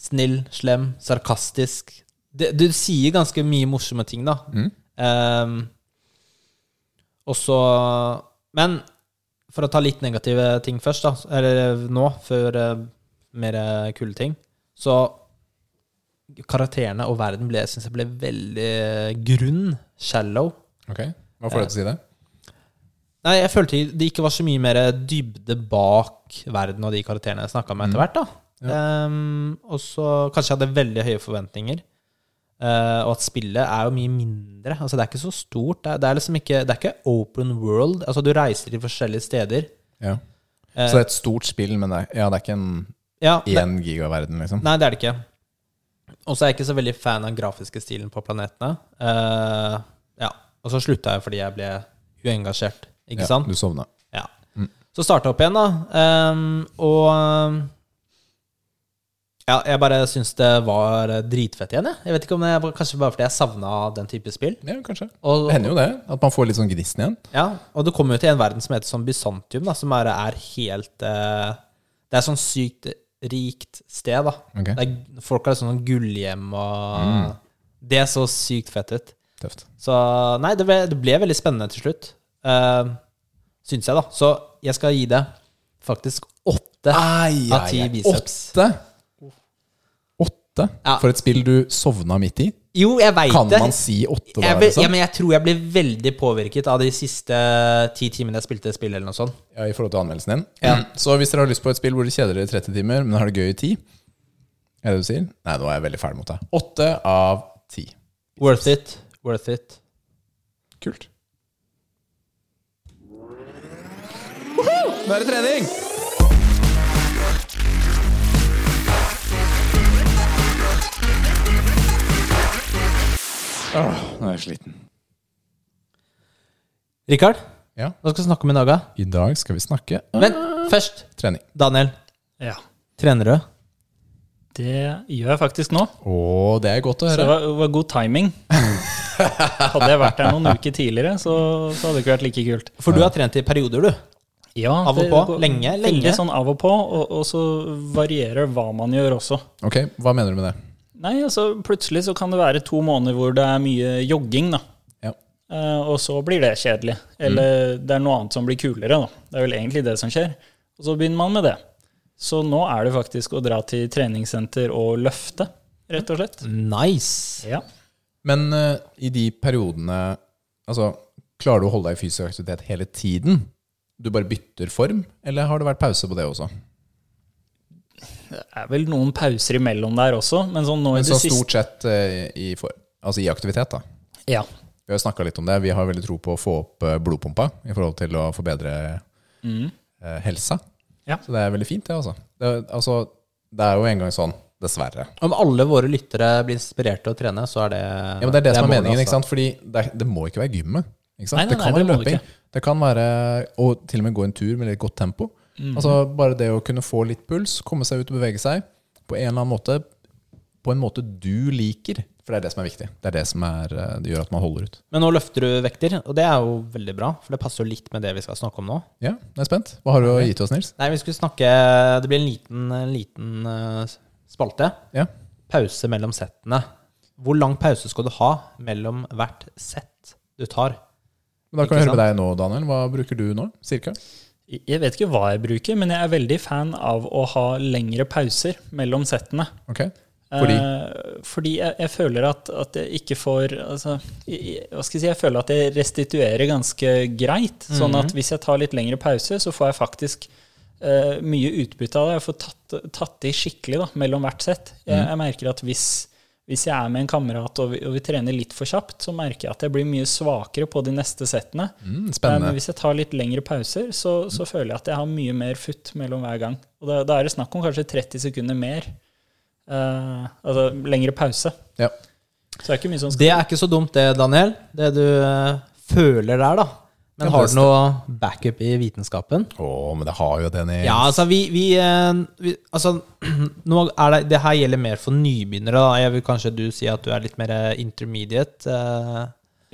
snill, slem, sarkastisk. Det, du sier ganske mye morsomme ting, da. Mm. Ehm, og så Men for å ta litt negative ting først, da, eller nå, før eh, mer eh, kule ting, så Karakterene og verden ble, synes jeg ble veldig grunn, shallow. Ok, Hva får deg til å si det? Nei, jeg følte det ikke var så mye mer dybde bak verden og de karakterene jeg snakka med etter hvert. da. Ehm, og så kanskje jeg hadde veldig høye forventninger. eh, og at spillet er jo mye mindre. Altså Det er ikke så stort. Det er, det er liksom ikke Det er ikke open world. Altså Du reiser til forskjellige steder. Ja. Eh, Så det er et stort spill, men det er, ja, det er ikke en Ja, det, én gigaverden, liksom? Nei, det er det ikke. Og så er jeg ikke så veldig fan av den grafiske stilen på planetene. Eh, ja, Og så slutta jeg fordi jeg ble uengasjert, ikke Ja, sant? Du sovna. Ja. Så starta jeg opp igjen, da. Ehm, og ehm, ja, jeg bare syns det var dritfett igjen, jeg. Jeg vet ikke om det er Kanskje bare fordi jeg savna den type spill. Ja, kanskje. Og, Det hender jo det. At man får litt sånn gnisten igjen. ja, og du kommer jo til en verden som heter sånn Bysantium, da, som er, er helt eh, Det er sånn sykt rikt sted, da. Ok. Det er, folk har sånn gullhjem og Det så sykt fett ut. Tøft. Så nei, det ble, det ble veldig spennende til slutt. Uh, Syns jeg, da. Så jeg skal gi det faktisk åtte Ah, av ti biceps. Åtte? Åtte? Ja. For et spill du sovna midt i? Jo, jeg veit det. Kan man si åtte jeg, da? vil- Liksom? ja, men jeg tror jeg ble veldig påvirket av de siste ti timene jeg spilte spill, eller noe sånt. Ja, I forhold til anmeldelsen din. Så hvis dere har lyst på et spill hvor det kjeder dere i 30 timer, men har det gøy i 10 Er det du sier? Nei, nå er jeg veldig fæl mot deg. Åtte av ti. Worth it. Worth it. Kult. Nå er det trening! Åh, nå er jeg sliten. Rikard, Ja. hva skal vi snakke om i dag? da? I dag skal vi snakke om Men først, trening. Daniel. Ja, Trener du? det gjør jeg faktisk nå. Å, det er godt å Så det høre. var, det var god timing. Hadde jeg vært der noen uker tidligere, så, så hadde det ikke vært like kult. For du har trent i perioder, du. Ja, Av og det på? går Lenge? veldig Lenge? sånn av og på, og, og så varierer hva man gjør også. Ok, hva mener du med det? Nei, altså plutselig så kan det være to måneder hvor det er mye jogging, da. Ja. Eh, og så blir det kjedelig. Eller Mm. det er noe annet som blir kulere, da. Det er vel egentlig det som skjer. Og så begynner man med det. Så nå er det faktisk å dra til treningssenter og løfte, rett og slett. Mm. Nice. Ja. Men eh, i de periodene Altså, klarer du å holde deg i fysisk aktivitet hele tiden? Du bare bytter form, eller har det vært pause på det også? Det er vel noen pauser imellom der også, men sånn nå i Men det så siste stort sett eh, i, for, altså i aktivitet, da. Ja. Vi har jo snakka litt om det. Vi har veldig tro på å få opp eh, blodpumpa i forhold til å forbedre eh, helsa. Mm. Ja. Så det er veldig fint, det, altså. Det, er- altså. det er jo en gang sånn, dessverre. Om alle våre lyttere blir inspirert til å trene, så er det Ja, men Det er det, som er målet, meningen. ikke altså. sant? Fordi det, er- det må ikke være gymmet. Ikke sant? Nei, nei, det kan nei, det være må det løping. ikke. Det kan være å til og med gå en tur med litt godt tempo. Altså Bare det å kunne få litt puls, komme seg ut og bevege seg på en eller annen måte. På en måte du liker. For det er det som er viktig. Det er det som er, eh, det gjør at man holder ut. Men nå løfter du vekter, og det er jo veldig bra, for det passer jo litt med det vi skal snakke om nå. Ja, jeg er spent. Hva har du å gi til oss, Nils? Nei, vi skulle snakke Det blir en liten, en liten eh, spalte. Ja. Pause mellom settene. Hvor lang pause skal du ha mellom hvert sett du tar? Men da kan vi Ikke høre med deg nå, Daniel. Hva bruker du nå, cirka? Jeg vet ikke hva jeg bruker, men jeg er veldig fan av å ha lengre pauser mellom settene. Ok. Fordi Eh, fordi jeg, jeg føler at, at jeg ikke får altså, jeg, jeg- Hva skal jeg si? Jeg føler at jeg restituerer ganske greit. Sånn at hvis jeg tar litt lengre pause, så får jeg faktisk eh, mye utbytte av det. Jeg får tatt, tatt i skikkelig da, mellom hvert sett. Jeg, jeg merker at hvis, hvis jeg er med en kamerat og vi, og vi trener litt for kjapt, så merker jeg at jeg blir mye svakere på de neste settene. mm, Eh, Men Spennende. hvis jeg tar litt lengre pauser, så, så føler jeg at jeg har mye mer futt mellom hver gang. Og da, da er det snakk om kanskje 30 sekunder mer. Eh, altså lengre pause. Ja. Så det er ikke mye som skal Det er ikke så dumt, det, Daniel. Det du eh, føler der, da. Men Ja, har det du noe backup i vitenskapen? Å, men det har jo det, Nils. Ja, altså vi, vi, eh, vi Altså, [CLEARS THROAT] nå er det, det her gjelder mer for nybegynnere, da. Jeg vil kanskje du si at du er litt mer eh, intermediate. eh,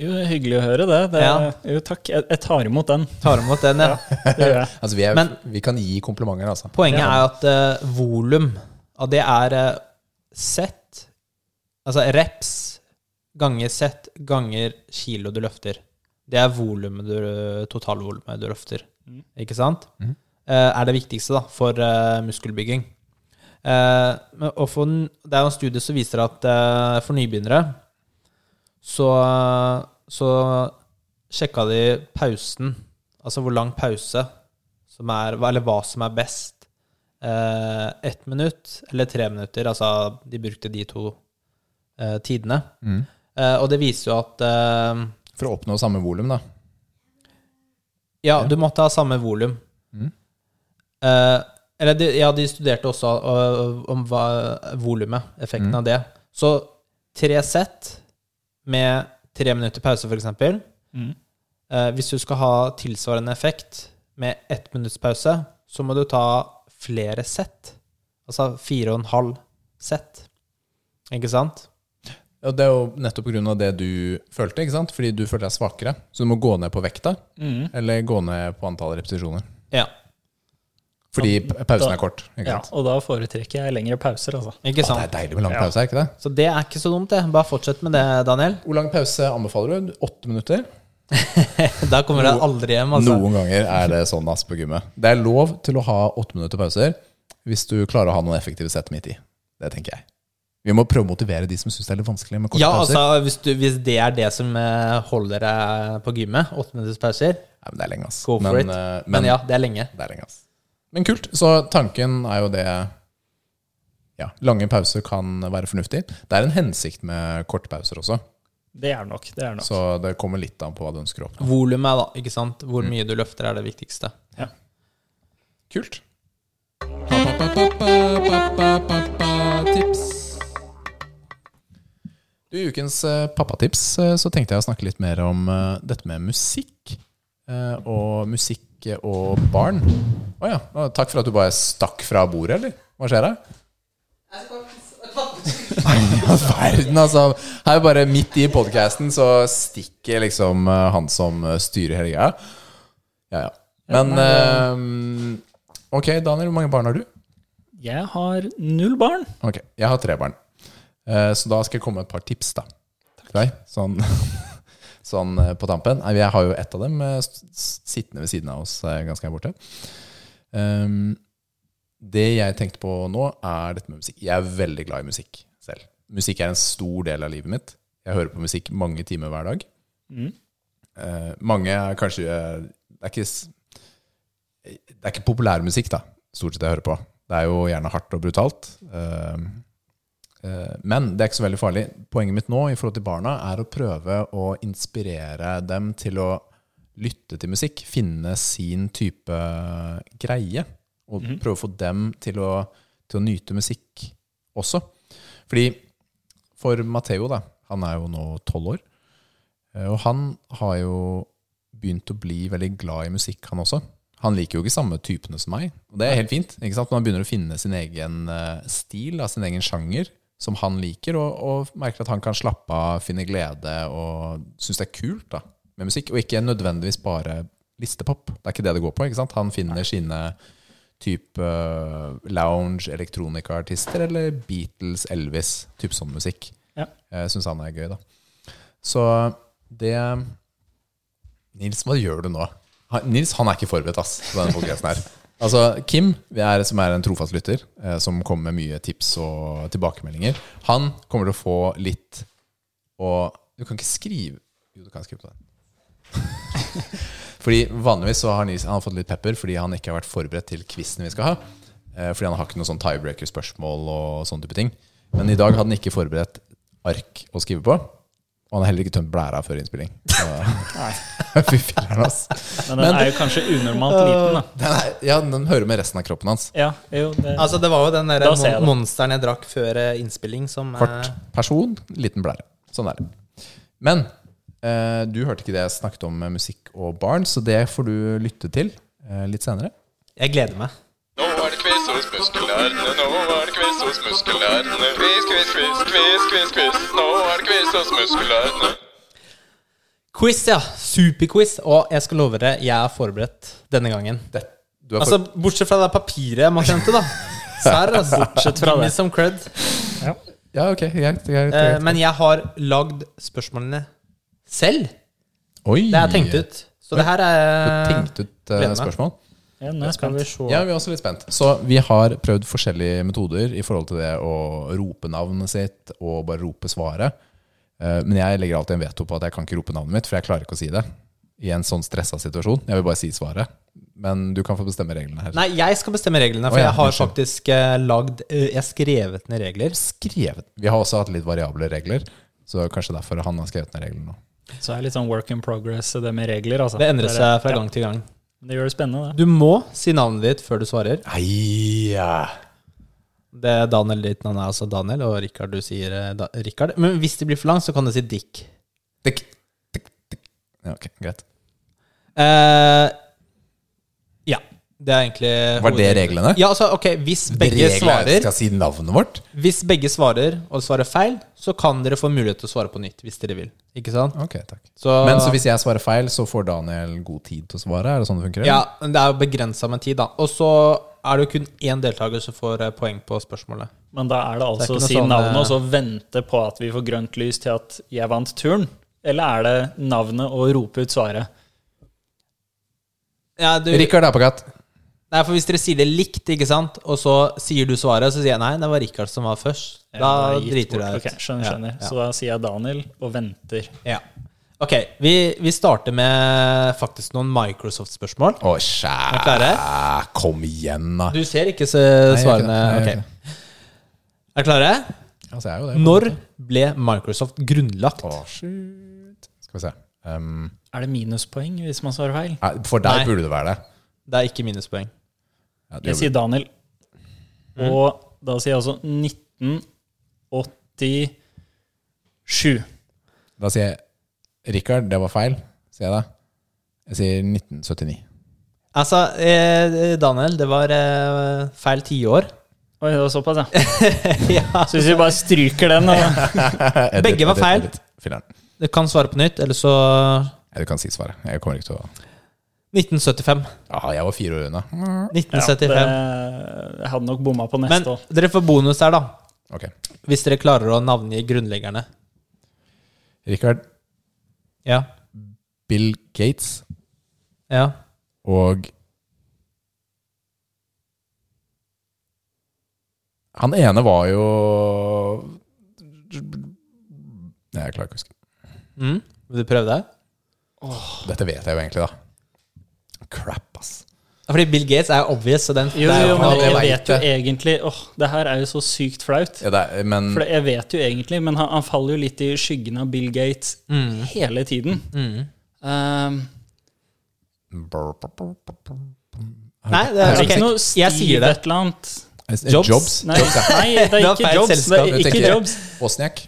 Jo, det er hyggelig å høre det. det Ja. Jo, takk. Jeg, jeg tar imot [LAUGHS] den. tar imot den, ja. Det gjør jeg. Altså, vi, er, Men- vi kan gi komplimenter, altså. Poenget er at uh, volum, og det er eh, sett, altså reps ganger sett ganger kilo du løfter. Det er volumet du, totalvolumet du løfter, ikke sant? Eh, er det viktigste da, for eh, muskelbygging. Eh, men- og for, n- det er jo en studie som viser at eh, for nybegynnere så, så sjekka de pausen, altså hvor lang pause som er, hva- eller hva som er best. Eh, ett minutt eller tre minutter. Altså, de brukte de to eh, tidene. Eh, og det viser jo at eh, For å oppnå samme volum, da. Ja, du måtte ha samme volum. Eh, eller de, ja, de studerte også eh, om hva volumet, effekten av det. Så tre sett med tre minutter pause, for eksempel. Mm. Eh, hvis du skal ha tilsvarende effekt med ett minutts pause, så må du ta flere sett. Altså fire og en halv sett. Ikke sant? Ja, det er jo nettopp pga. det du følte, ikke sant? fordi du følte deg svakere. Så du må gå ned på vekta, Mhm. eller gå ned på antall repetisjoner. Ja. Fordi p- pausen da- er kort. ikke Ja, sant? og da foretrekker jeg lengre pauser, altså. Ikke Å, det sant? er deilig med lang pause, er ikke det? Så det er ikke så dumt, det. Bare fortsett med det, Daniel. Hvor lang pause anbefaler du? Åtte minutter? [LAUGHS] Da kommer du aldri hjem, altså. Noen ganger er det sånn ass på gymmet. Det er lov til å ha åtte minutter pauser hvis du klarer å ha noen effektive sett midt i. Det tenker jeg. Vi må prøve å motivere de som syns det er litt vanskelig med korte Ja, pauser. altså, hvis, du, hvis det er det som eh, holder deg på gymmet, åtteminutterspauser, Nei, men det er lenge, ass. go for men, it. eh, men, Men ja, det er lenge. det er lenge, ass. Men kult. Så tanken er jo det Ja, lange pauser kan være fornuftig. Det er en hensikt med korte pauser også, Det er nok. det er nok. så det kommer litt an på hva du ønsker å oppnå. Volumet, da. ikke sant? Hvor mye du løfter, er det viktigste. Kult. Du, I ukens eh, pappatips eh, så tenkte jeg å snakke litt mer om eh, dette med musikk. eh, Og musikk eh, og barn. Å ja. å, Takk for at du bare stakk fra bordet, eller? Hva skjer da? Nei, all verden, altså. Her bare midt i podkasten så stikker liksom eh, han som eh, styrer hele greia. Ja, ja. Men eh, Ok, Daniel, hvor mange barn har du? Jeg har null barn. Ok, Jeg har tre barn. Eh, Så da skal jeg komme med et par tips da til deg. Sånn, [LAUGHS] sånn eh, på tampen. Nei, Jeg har jo ett av dem eh, s- s- sittende ved siden av oss eh, ganske her borte. Um, Det jeg tenkte på nå, er dette med musikk. Jeg er veldig glad i musikk selv. Musikk er en stor del av livet mitt. Jeg hører på musikk mange timer hver dag. Eh, mange er kanskje eh, Det er ikke s- eh, det er ikke populær musikk, da, stort sett jeg hører på. Det er jo gjerne hardt og brutalt. Eh, eh, Men det er ikke så veldig farlig. Poenget mitt nå i forhold til barna er å prøve å inspirere dem til å lytte til musikk. Finne sin type eh, greie. Og prøve å få dem til å, til å nyte musikk også. Fordi for Matheo, da, han er jo nå tolv år. Eh, Og han har jo begynt å bli veldig glad i musikk, han også. Han liker jo ikke samme typene som meg, og det er helt fint. ikke sant? Men han begynner å finne sin egen eh, stil, da, sin egen sjanger, som han liker, og, og merker at han kan slappe av, finne glede og synes det er kult da, med musikk. Og ikke nødvendigvis bare listepop. Det er ikke det det går på. ikke sant? Han finner sine type eh, lounge, elektronikaartister eller Beatles, Elvis, type sånn musikk. Ja. Jeg syns han er gøy, da. Så det Nils, hva gjør du nå? Han- Nils han er ikke forberedt ass, på denne podcasten her. [LAUGHS] Altså, Kim, vi er, som er en trofast lytter, eh, som kommer med mye tips og tilbakemeldinger, han kommer til å få litt Og du kan ikke skrive Jo, du kan skrive på den. [LAUGHS] Fordi Vanligvis så har Nils han har fått litt pepper fordi han ikke har vært forberedt til quizen vi skal ha. Eh, Fordi han har ikke noen sånn tiebreaker-spørsmål og sånne type ting. Men i dag hadde han ikke forberedt ark å skrive på. Og han har heller ikke tømt blæra før innspilling. Nei. Så- [LAUGHS] Fy filler'n, ass. Men den er jo kanskje unormalt [LAUGHS] liten, da. Den, er, ja, den hører med resten av kroppen hans. Ja, jo, det, Altså, det var jo den der Da ser jeg mon- det. monsteren jeg drakk før eh, innspilling, som eh, Kort person, liten blære. Sånn er det. Men eh, du hørte ikke det jeg snakket om med musikk og barn, så det får du lytte til eh, litt senere. Jeg gleder meg. Nå er det quiz hos muskelærene, nå er det quiz hos muskelærene. Quiz, quiz, quiz, quiz, quiz, quiz. Nå er det quiz hos muskelærene. Quiz, ja. Superquiz. Og jeg skal love dere, jeg er forberedt denne gangen. Det, du er for, Altså, Bortsett fra det papiret jeg må hente, [LAUGHS] da. Serr, altså. Bortsett fra det. Som cred. ja, ok, greit. greit, Eh, greit. men jeg har lagd spørsmålene selv. Oi! Det er tenkt ut. Så det her Du er tenkte ut eh, Gleder meg. spørsmål? ja, nå er jeg spent. Ja, vi er også litt spent. Så vi har prøvd forskjellige metoder i forhold til det å rope navnet sitt og bare rope svaret. Eh, Men jeg legger alltid en veto på at jeg kan ikke rope navnet mitt, for jeg klarer ikke å si det i en sånn stressa situasjon. Jeg vil bare si svaret. Men du kan få bestemme reglene her. Nei, jeg skal bestemme reglene, for Å, ja, jeg har unnskyld. faktisk eh, lagd eh, Jeg har skrevet ned regler. Skrevet. Vi har også hatt litt variable regler, så kanskje derfor han har skrevet ned reglene nå. Så er det litt sånn work in progress, det med regler, altså. Det endrer er- seg fra gang til gang. Det gjør det spennende, Du det. må si navnet ditt før du svarer. Eia. Det er Daniel ditt navn er altså Daniel, og Rikard du sier eh, da, Rikard. Men hvis det blir for langt, så kan du si Dick. Tikk, tikk, tikk. Ja, ok, greit. Eh, ja. Det er egentlig Var det hovedregelen. reglene? Ja, altså, ok, hvis begge Reglene er at vi svarer Skal si navnet vårt? Hvis begge svarer og svarer feil, så kan dere få mulighet til å svare på nytt hvis dere vil. Ikke sant? Ok, takk. Så, Men så hvis jeg svarer feil, så får Daniel god tid til å svare? Er det sånn det funker? eller? Ja, men det er jo begrensa med tid, da. Og så er det jo kun én deltaker som får eh, poeng på spørsmålet. Men da er det Det er altså ikke å noe si sånn, navnet eh, og så vente på at vi får grønt lys til at jeg vant turen? Eller er det navnet og rope ut svaret? Ja, du, Rikard Apekatt. Nei, for hvis dere sier det likt, ikke sant, og så sier du svaret, så sier jeg nei, det var Rikard som var først. Da Ja, gitt driter du bort. deg ut. Ok, skjønner, skjønner. Ja, ja. Så da sier jeg Daniel og venter. Ja. Ok, vi, vi starter med faktisk noen Microsoft-spørsmål. Å, Er dere skjæ... Ah. Kom igjen, da. Du ser ikke så jeg gjør ikke svarene. det. Ok. Jeg gjør ikke Er dere klare? Altså, jeg er jo det. Når ble Microsoft grunnlagt? Å, shoot. Skal vi se. Um, Er det minuspoeng hvis man svarer feil? nei, for deg Nei. burde det være det. Det er ikke minuspoeng. Ja, det Jeg sier Daniel. Og da sier jeg altså 1987. Da sier jeg Rikard, det var feil, sier jeg da. Jeg sier 1979. Altså, eh, Daniel, det var eh, feil tiår. Oi, det var såpass, ja. [LAUGHS] ja. Så hvis vi bare stryker den og Edit, Begge var edit, feil. edit. Filler'n. Du kan svare på nytt, eller så Ja, du kan si svaret. Jeg kommer ikke til å 1975. Ja, jeg var fire år unna. 1975. det- Jeg hadde nok bomma på Men neste òg. dere får bonus her, da. Ok. Hvis dere klarer å navngi grunnleggerne. Rikard, Ja. Bill Gates Ja. og Han ene var jo Nei, jeg klarer ikke å huske. Mm. Vil du prøve det? Dette vet jeg jo egentlig, da. Crap, ass. Ja, Fordi Bill Gates er obvious, så den Jo, det er jo, men alle jeg vet vet jo det. egentlig Åh, det her er jo så sykt flaut. Ja, det er, men For det- jeg vet jo egentlig, men han, han faller jo litt i skyggen av Bill Gates hele tiden. Um, Nei, det er det er ok. ikke noe Jeg sier det. et eller annet. Jobs? Jobs? Eh, Jobs Nei, ja. nei, det Det er var ikke feil Jobs. Det selskap. er Jeg ikke tenker- Jobs. Bosniak?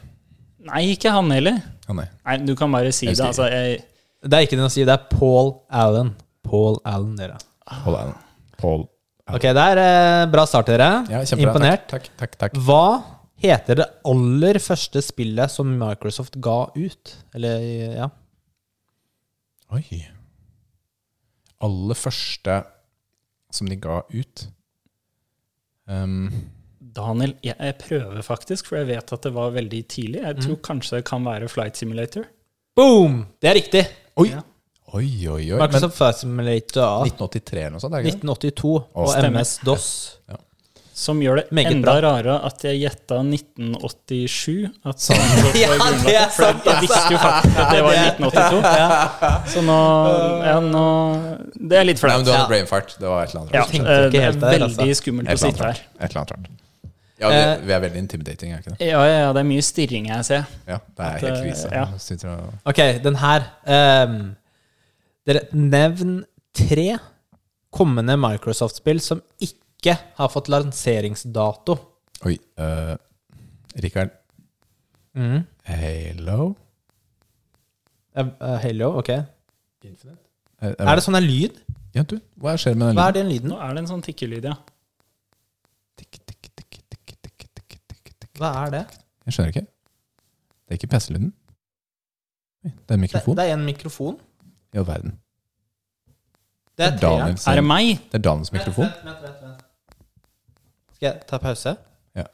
Nei, ikke han heller. Å, nei. Nei, du kan bare si Jeg det. sier- Altså, jeg, Det er ikke noe å si. Det er Paul Allen. Paul Allen, dere. Hold an. Paul. Ok, det er eh, bra start, dere. Ja, kjempebra. Imponert. Takk, takk, takk. takk. Hva heter det aller første spillet som Microsoft ga ut? Eller, ja Oi. Aller første som de ga ut um, Daniel, jeg, jeg prøver faktisk, for jeg vet at det var veldig tidlig. Jeg tror kanskje det kan være Flight Simulator. Boom! Det er riktig. Oi! Ja. Oi, oi, oi. Men Microsoft Flight Simulator 1983 eller noe sånt? Er det ikke det? 1982 og stemmer. MS-DOS. Som gjør det Meget enda bra. rarere at jeg gjetta 1987. At [LAUGHS] Ja, det er sant! altså. jeg visste jo faktisk at det var i 1982. Så nå, ja, nå Det er Nei, men litt flaut. du hadde Ja. brain fart. Det var et eller annet Ja, rart. tenkte eh, ikke det er helt der, altså. veldig skummelt Et å eller annet sitte rart. her. Et eller annet rart. Ja, Eh. vi, vi er veldig intimidating, er vi ikke det? Ja, ja, ja, det er mye stirring jeg ser. Ja, det er At, helt eh, krise. ja. Sitter og- Ok, den her. ehm, dere, nevn tre kommende Microsoft-spill som ikke har fått lanseringsdato. Oi. eh, Rikard. Mm. Halo? Eh, eh, Halo, ok. Er det sånn en lyd? Eh, Ja, du. Hva skjer med den Hva er den lyden? Nå er det en sånn tikkelyd, ja. Tikk, tikk, tikk, tikk, tikk, tikk, tikk, tikk. Hva er det? Jeg skjønner ikke. Det er ikke PC-lyden. Oi, Det er en Det, mikrofon. det er en mikrofon. I all verden. Det er treeren. Daniel sin- Er det meg? det er Daniels mikrofon. Vent, vent, vent, vent. Skal jeg ta pause? Ja.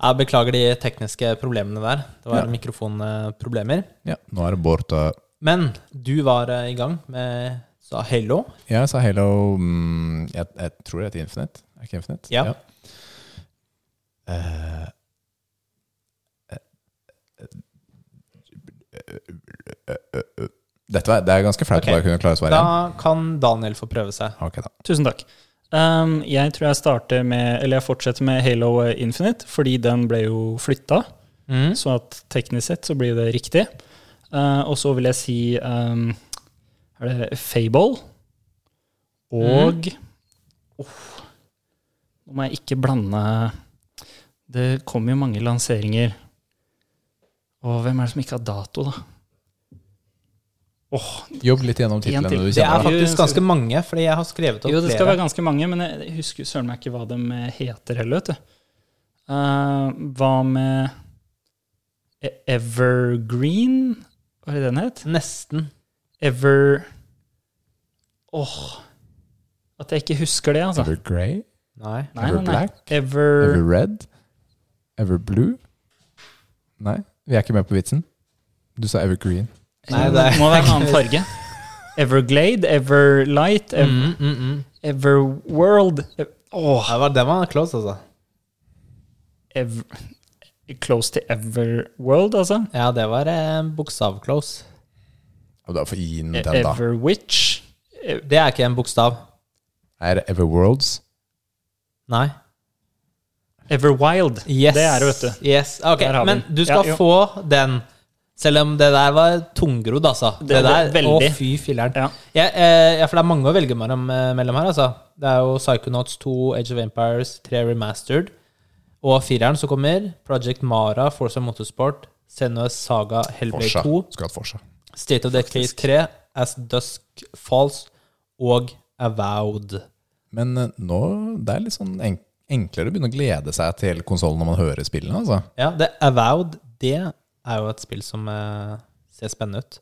Jeg beklager de tekniske problemene der. Det var Ja. mikrofonproblemer. Ja, nå er det Bård og Men du var eh, i gang med sa Halo. Jeg sa Halo mm, jeg, jeg tror det heter Infinite. Er ikke Infinite? Ja. Eh, eh, eh, Dette var, det er ganske flaut Ok. å bare kunne klare å svare igjen. Da kan Daniel få prøve seg. Ok, da. Tusen takk. Um, jeg tror jeg starter med Eller jeg fortsetter med Halo Infinite, fordi den ble jo flytta. Mm. Så at teknisk sett så blir det riktig. Uh, og så vil jeg si um, Er det Fable? Og Uff. Nå må jeg ikke blande Det kommer jo mange lanseringer. Og hvem er det som ikke har dato, da? Åh, Jobb litt gjennom En titlene til. du Det er kjenner. da. faktisk ganske mange, fordi jeg har skrevet opp Jo, det skal flere. være ganske mange, men jeg husker søren meg ikke hva de heter heller, vet du. Eh, hva med E- Evergreen? Hva er det den het? Nesten. Ever... Åh At jeg ikke husker det, altså. Ever Grey? Nei. Nei, nei, nei. Everblack? Ever... Ever Red? Ever Blue? Nei, vi er ikke med på vitsen. Du sa Ever Green. Nei, Nei, det det er- må være en annen farge. Everglade, Everlight, Ev Mm, mm, mm. Everworld Ev- Åh, Det var, den var close, altså. ev Close to Everworld, altså. Ja, det var eh, bokstav-close. Og da får gi den E- den, da. Everwitch. Ev- Det er ikke en bokstav. Er det Everworlds? Nei. Everwild. Yes. Det er det, vet du. Yes. Ok, Der har vi men den. du skal Ja, jo. få den. Selv om det der var tungrodd, altså. Det, Det var der, veldig. Å, fy filleren. Ja. Ja, eh, ja, for det er mange å velge mellom, eh, mellom her, altså. Det er jo Psychonauts 2, Age of Empires, 3 Remastered. Og fireren som kommer, Project Mara, Forza Motorsport, Senua Saga, Hellblade Forsa. 2, Skulle hatt Forsa. State of Decay 3, As Dusk Falls og Avowed. Men eh, nå det er litt sånn enk enklere å begynne å glede seg til konsollen når man hører spillene, altså. Ja, det Avowed, det er jo et spill som eh, ser spennende ut.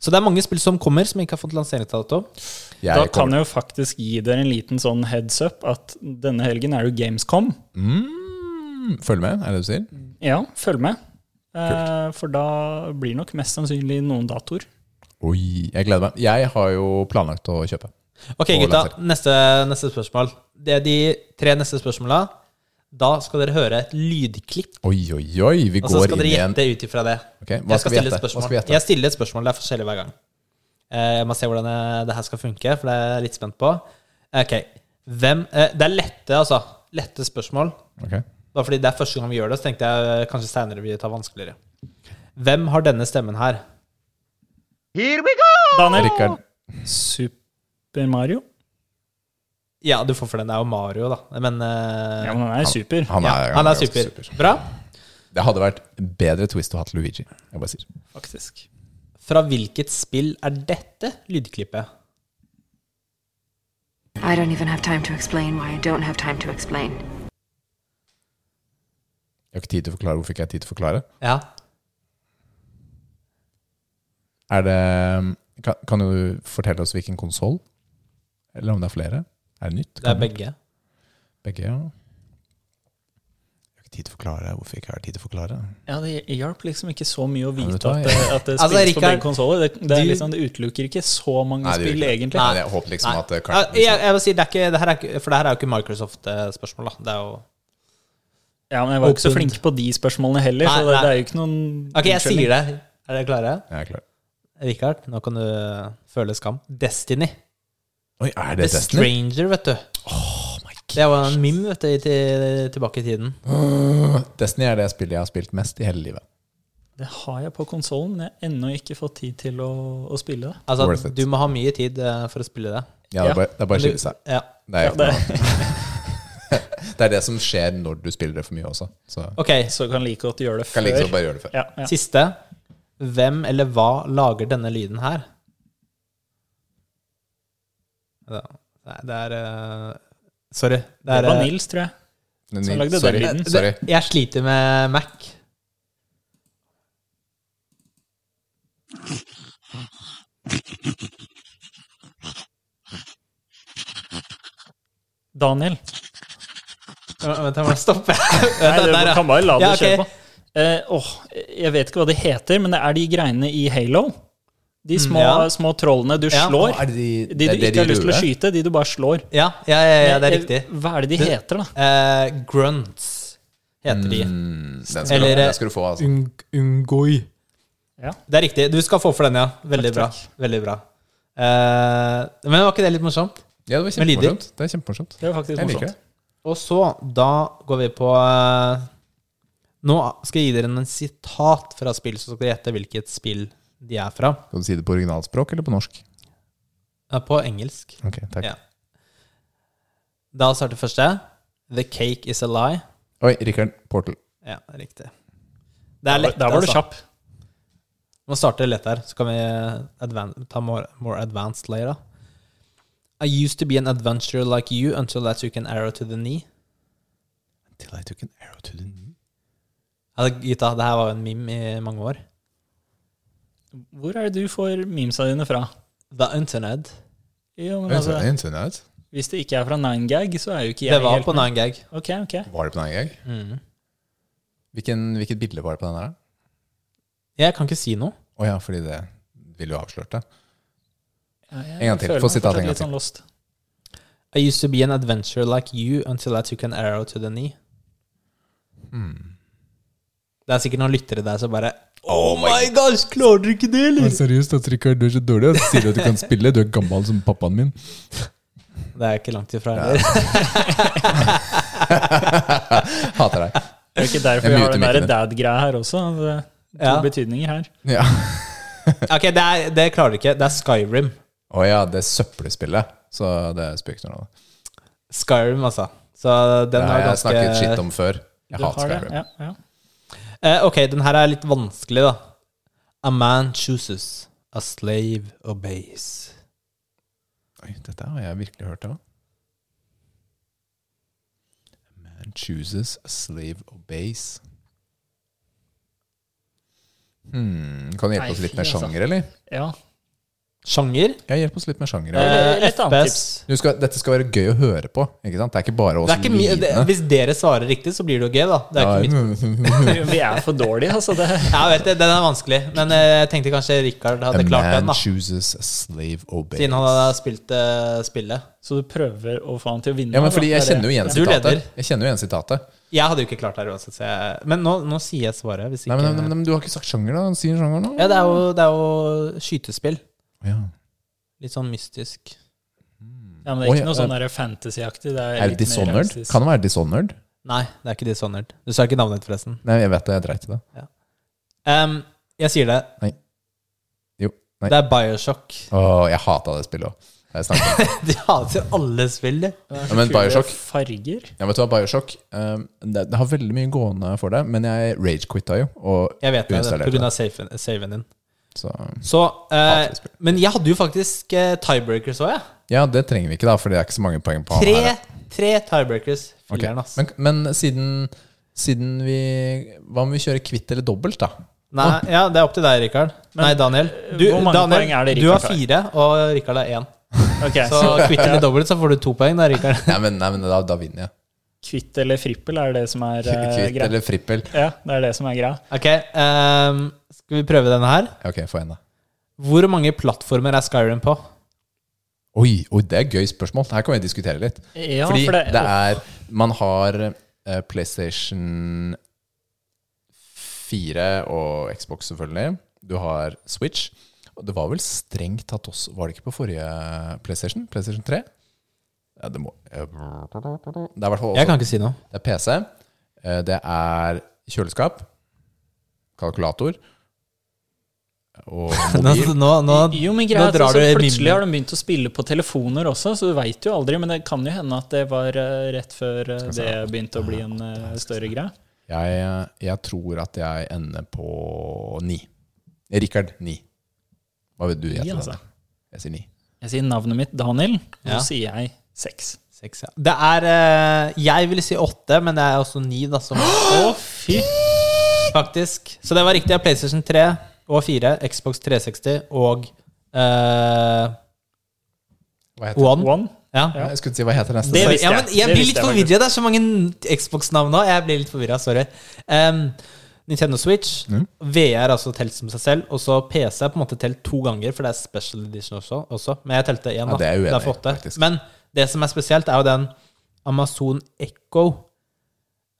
Så det er mange spill som kommer, som ikke har fått lanseringsdato. Jeg Da kan kommer- jeg jo faktisk gi dere en liten sånn heads up at denne helgen er jo Gamescom. mm, Følg med, er det det du sier? Ja, følg med. Eh, for da blir det nok mest sannsynlig noen datoer. Oi, jeg gleder meg. Jeg har jo planlagt å kjøpe. Ok, Og gutta. lansering. Neste, neste spørsmål. Det er de tre neste spørsmåla. Da skal dere høre et lydklipp, Oi, oi, oi, vi og så går skal inn dere i en gjette ut ifra det. Ok, hva Jeg skal skal vi stille et gjette? Hva spørsmål. skal vi gjette? Jeg stiller et spørsmål. Det er forskjellig hver gang. Eh, Jeg må se hvordan eh, det her skal funke, for det er jeg litt spent på. Ok, hvem eh, Det er lette, altså. Lette spørsmål. Ok. Bare fordi det er første gang vi gjør det, så tenkte jeg eh, kanskje seinere vi tar vanskeligere. Hvem har denne stemmen her? Daniel, Rikard. Super Mario? Ja, du får for den. Det er jo Mario, da. Men, eh, Ja, men han er super. Han ja, er, han er ganske super. Bra. Det hadde vært bedre twist å ha til Luigi. Jeg bare sier. Faktisk. Fra hvilket spill er dette lydklippet? I don't even have time to explain why I don't have time to explain. Jeg har ikke tid til å forklare. Hvorfor ikke jeg har tid til å forklare? Ja. Er det Kan, kan du fortelle oss hvilken konsoll? Eller om det er flere? Er det nytt? Det er begge. Begge, ja. Jeg har ikke tid til å forklare hvorfor jeg ikke har tid til å forklare. Ja, det hjalp liksom ikke så mye å Ja, vite vet du hva, at, det- at det Altså, spilles på Rikard, begge konsoller. Det, det, er du- liksom, det utelukker ikke så mange Nei, det gjør spill, ikke det. egentlig. Nei, jeg håper liksom Nei. at det Ja, kanskje jeg, jeg vil si, det er ikke, det her er ikke, for det her er jo ikke Microsoft-spørsmål, da. Det er jo Ja, men jeg var ikke så Åpent. flink på de spørsmålene heller, Nei, så det, nei. det er jo ikke noen Ok, jeg sier det. Er dere klare? Jeg er klar. Rikard, nå kan du føle skam. Destiny. Oi, The er det Destiny? Stranger, vet du. Det var en meme vet du, i til, tilbake i tiden. Destiny er det spillet jeg har spilt mest i hele livet. Det har jeg på konsollen, men jeg har ennå ikke fått tid til å, å spille det. Worth Altså, it. du må ha mye tid eh, for å spille det. Ja, det Ja. er bare, det er bare å Men du- skille seg. Ja. Det er, Ja, det, det er det som skjer når du spiller det for mye også. Så Ok, [LAUGHS] så kan like godt gjøre det før. kan like så bare gjøre det før. ja, ja. siste. Hvem eller hva lager denne lyden her? Ja, Nei, det er eh, Sorry. Det Det er var eh, Nils, tror jeg. Men Så ni- lagde den sorry, lyden. sorry. det- Jeg sliter med Mac. Daniel. Vent, jeg må stoppe. Nei, Der, du ja. kan bare la det Ja, ok. kjøre på. Eh, åh, jeg vet ikke hva det heter, men det er de greiene i Halo. De små, Mm, ja. små trollene du Ja. slår. Å, er det de, De det du er det ikke har lyst til å røde? skyte, de du bare slår. [LAUGHS] Ja, ja, ja, ja, det er Eh, riktig. Hva er det de Du- heter, da? Eh, grunts heter de. Mm, den, skal Eller, du, den skal du få, altså. Ung, ungoi. Ja. Det er riktig. Du skal få for den, ja. Veldig Takk, bra. takk. Veldig bra. Eh, men var ikke det litt morsomt? Ja, det var Med lyder. kjempemorsomt. Det er kjempemorsomt. Det var faktisk Jeg liker morsomt. det. Og så, da går vi på eh, Nå skal jeg gi dere en sitat fra spill, så skal dere gjette hvilket spill de er fra. Skal du si det på originalspråk eller på norsk? Eh, På engelsk. Ok, takk. Ja. Da starter første. The cake is a lie. Oi, Rikard. Portal. Ja, riktig. Det er lett, Der var du altså. kjapp. Vi må starte lett her, så kan vi advan ta more, more advanced later. I used to be an adventurer like you until that took an arrow to the knee. Till I took an arrow to the knee. Altså, Gita, det her var jo en meme i mange år. Hvor er det du får memesa dine fra? The Internet. Jo, men altså, Internet? hvis det ikke er fra 9gag, så er jo ikke jeg Det var helt på med. 9gag. Ok, ok. Var det på den gang? Mm. Hvilken, hvilket bilde var det på den der? Jeg kan ikke si noe. Å ja, fordi det ville jo avslørt det. En gang til. Få sitatet en gang sånn til. I used to be an adventurer like you until I took an arrow to the knee. Det er sikkert noen lyttere der som bare Oh my gosh, klarer dere ikke det, eller? seriøst, at Rikard, du er så dårlig. Og sier at du kan spille. Du er gammel som pappaen min. Det er ikke langt ifra heller. Hater deg. [LAUGHS] Det er ikke derfor Jeg vi muter har den der mikken din. dad-greia her også. Det er to Ja. betydninger her. Ja. [LAUGHS] ok, det, er, det klarer dere ikke. Det er Skyrim. Å ja, det er søppelspillet. Så det er spøkende. Skyrim, altså. Så den Det er har jeg ganske snakket skitt om før. Jeg Du hater har det, Skyrim. ja, ja. Eh, Ok, den her er litt vanskelig, da. A man chooses, a slave obeys. Oi, dette har jeg virkelig hørt av. A Man chooses a slave obeys. Hmm, kan du Nei, hjelpe oss litt fy, med altså. sjanger, eller? ja. Sjanger? Ja, hjelp oss litt med sjanger. ja. Eh, Litt annet FPS. tips. Du skal, dette skal være gøy å høre på. ikke sant? Det er ikke bare oss Det er ikke mi, det, lidende. hvis dere svarer riktig, så blir det jo gøy, da. Det er ikke mitt. [LAUGHS] Vi er for dårlige, altså. Det, Ja, jeg vet det, Den er vanskelig, men eh, jeg tenkte kanskje Richard A hadde klart den. man da chooses a slave obeys. Siden han hadde spilt eh, spillet. så du prøver å få han til å vinne? Ja, men fordi Jeg kjenner jo igjen Du leder. sitatet. Jeg kjenner jo igjen sitatet. Jeg hadde jo ikke klart det her uansett, så jeg Men nå, nå sier jeg svaret. Hvis ikke, Nei, men, men, men, men du har ikke sagt sjanger, da? Han sier sjanger nå. Ja, det er, jo, det er jo skytespill. Ja. Litt sånn mystisk. Ja, men Det er Oi, ikke noe ja. sånn der fantasy-aktig. Det er, Er litt det mer Dishonored? realistisk. Kan det være Dishonored? Nei, det er ikke Dishonored. Du sa ikke navnet ditt, forresten. Nei, jeg vet det. Jeg dreit i det. Em, jeg sier det. Jo. Nei. Det er Bioshock. [LAUGHS] Åh, jeg hata det spillet òg. Ja, De hater alle spill, de. Det er så men kule Bioshock. Farger. vet du hva, Bioshock um, det, det har veldig mye gående for det, men jeg ragequitta jo. Og Jeg vet det, det Uinstallerte er på grunn av safen, saven din. så Så eh, Hater spill. Men jeg hadde jo faktisk eh, tiebreakers òg, jeg. Ja, det trenger vi ikke, da, for det er ikke så mange poeng på han Tre, her. tre tiebreakers. Ok, Filler'n, ass. Men, men siden, siden vi Hva om vi kjører kvitt eller dobbelt, da? Nei, ja, det er opp til deg, Rikard. Nei, Daniel. Du, eh, hvor mange Daniel, poeng er det du har Rikard fire, og Rikard er [LAUGHS] én. Ok, Så kvitt eller dobbelt, så får du to poeng da, Rikard. [LAUGHS] Nei, men, nei, men da, da vinner jeg. Kvitt eller frippel er det som er eh, Kvitt greia. eller frippel. Ja, det er det som er greia. Ok, ehm, skal vi prøve denne her? Ja, Ok, få en, da. Hvor mange plattformer er Skyrim på? Oi, oi, det er et gøy spørsmål. Her kan vi diskutere litt. Ja, Fordi for det, det, er Man har eh, PlayStation 4 og Xbox, selvfølgelig. Du har Switch. Og det var vel strengt tatt også Var det ikke på forrige PlayStation? PlayStation 3? Ja, det må eh, Det er i hvert fall Jeg også kan ikke si noe. Det er PC. eh, Det er kjøleskap. Kalkulator. Og [LAUGHS] Nå, mobil. nå, nå, Jo, men nå greit, drar altså, du i Plutselig har mimre. de begynt å spille på telefoner også, så du veit jo aldri. Men det kan jo hende at det var eh, rett før eh, Altså, det begynte å bli en eh, større greie. Jeg, jeg tror at jeg ender på ni. Rikard, ni. Hva vil du Ni, gjette? altså. da? Jeg sier ni. Jeg sier navnet mitt Daniel, og Ja. så sier jeg seks. Seks, ja. Det er eh, Jeg ville si åtte, men det er også ni, da, [GASPS] som Å, fy! faktisk. Så det var riktig. PlayStation 3 og 4, Xbox 360 og eh, Hva heter One. One. Ja. den? Jeg skulle si hva heter neste. Det sak? visste ja, jeg. men jeg Det blir visste litt jeg forvirret. Det er så mange Xbox-navn nå. Jeg blir litt forvirra, sorry. Em, Nintendo Switch, VR altså telt som seg selv, og så PC er på en måte telt to ganger, for det er special edition også. også. Men jeg telte én, da. Ja, det er jeg uenig for i, åtte. faktisk. Men det som er spesielt, er jo den Amazon Echo,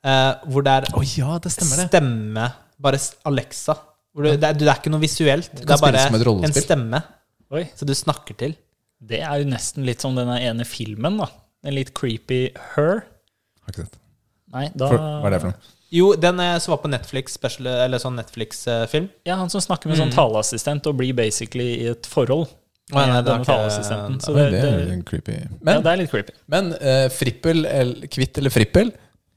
eh, hvor det er Å ja, det stemmer det. stemme Bare s- Alexa. Hvor du, det, er, det er ikke noe visuelt. Det er spille bare som et rollespill. en stemme. Oi. Så du snakker til. Det er jo nesten litt som den ene filmen, da. Den litt creepy Her. Har ikke sett. Nei, da For, hva er det for noe? Jo, den eh, som var på Netflix, special, eller sånn Netflix-film. Ja, han som snakker med sånn taleassistent og blir basically i et forhold Mm. Å, ja, med nei, det er denne ikke- taleassistenten. Så Oi, det, det det, er jo creepy. ja, Men, det er litt creepy. men eh, frippel, eller, kvitt eller frippel,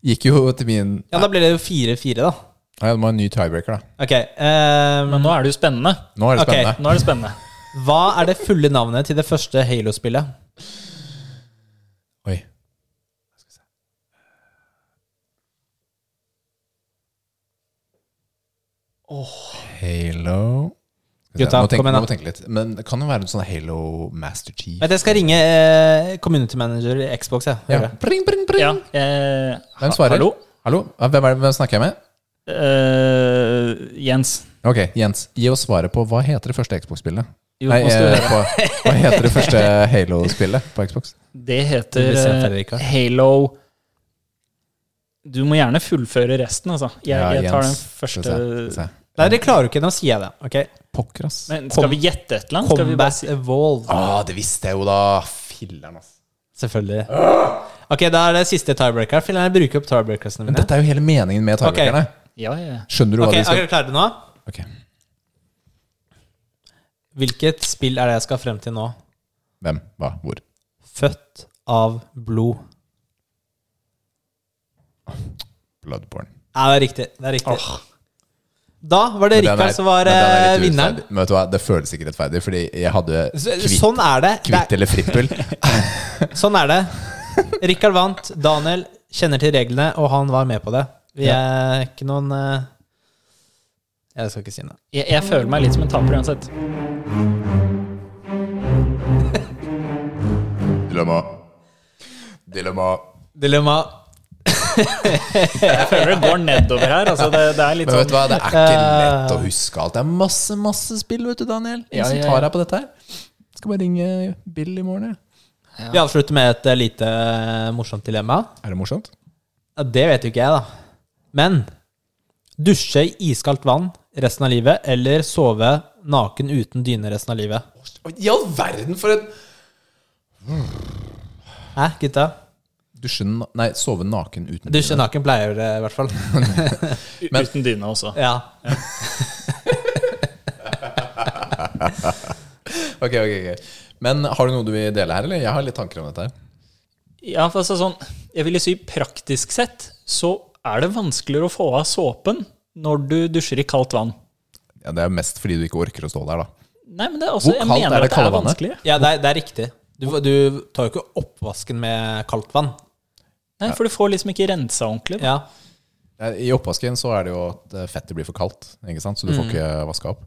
gikk jo til min Ja, da blir det jo 4-4, da. Ja, det må ha en ny tiebreaker, da. Ok. ehm, Men nå er det jo spennende. Nå er det Ok. spennende. Nå er det spennende. hva er det fulle navnet til det første Halo-spillet? Oi. Halo Skal vi se, Gutta, nå tenk- kom igjen da. Nå må jeg tenke litt. Men det kan jo være en sånn Halo Master Chief. Vet, du, jeg skal ringe eh, community manager i Xbox. Jeg. Ja. hører jeg. Pring, pring, pring. Ja, eh, Hvem svarer? Hallo? Hallo? Ja, Hvem, er det, hvem snakker jeg med? Eh, Jens. Ok, Jens. Gi oss svaret på hva heter det første Xbox-spillet? Jo, Nei, nå skal vi eh, høre. på, hva heter det første Halo-spillet på Xbox? Det Det heter blir sent, eh, Rikard. Halo Du må gjerne fullføre resten, altså. Jeg, Ja, jeg tar den Jens, første Skal vi se, skal vi se. Nei, det klarer du ikke. Nå sier jeg det. ok? Pokker, ass. Men skal Kom- vi gjette et eller annet? Skal vi bare Combat si Evolved. Ah, det visste jeg jo, da! Filler'n, ass. Selvfølgelig. Ok, da er det siste tiebreaker. Filler'n, jeg bruker opp tiebreakersene Men mine. dette er jo hele meningen med tiebreakerne. Ja, ja. ja. Skjønner du hva Ok, de Er skal dere klare nå? Ok. Hvilket spill er det jeg skal frem til nå? Hvem, hva, hvor? Født av blod. Bloodborne. Ja, det er riktig. Det er riktig. Da var det Men den er- Rikard som var men den er eh, litt vinneren. urettferdig. Men vet du hva, det føles ikke rettferdig, fordi jeg hadde Så- kvitt, Sånn er det. det kvitt eller frippel. [LAUGHS] er, sånn er det. [LAUGHS] Rikard vant. Daniel kjenner til reglene, og han var med på det. Vi er ikke noen eh, Jeg skal ikke si noe. Jeg, jeg føler meg litt som en taper uansett. Dilemma. Dilemma. Dilemma. Jeg føler det går nedover her. Altså, det, det er litt Men vet du sånn hva, det er ikke sånn, eh, lett å huske alt. Det er masse, masse spill, vet du, Daniel. Ja, Ja, som ja, ja. tar deg på dette her. Skal bare ringe Bill i morgen, jeg. Vi avslutter med et eh, lite eh, morsomt dilemma. Er det morsomt? Ja, det vet jo ikke jeg, da. Men dusje i iskaldt vann resten av livet, eller sove naken uten dyne resten av livet? I all verden, for en Hæ, gutta? Dusje na- Nei, sove naken uten Dusje naken pleier det, i hvert fall. men- uten dyne også. Ja. Ok, ok, ok. Men har du noe du vil dele her, eller? Jeg har litt tanker om dette her. Ja, for altså sånn, jeg ville si praktisk sett så er det vanskeligere å få av såpen når du dusjer i kaldt vann. Ja, det er mest fordi du ikke orker å stå der, da. Nei, men det er også, Hvor jeg kaldt er mener det at det kalde er vannet? vanskeligere. ja, det er, det er riktig. Du, du tar jo ikke oppvasken med kaldt vann. Nei, for du får liksom ikke rensa ordentlig. Ja. Nei, I oppvasken så er det jo at eh, fettet blir for kaldt, ikke sant? så du får Mm. ikke vaska opp.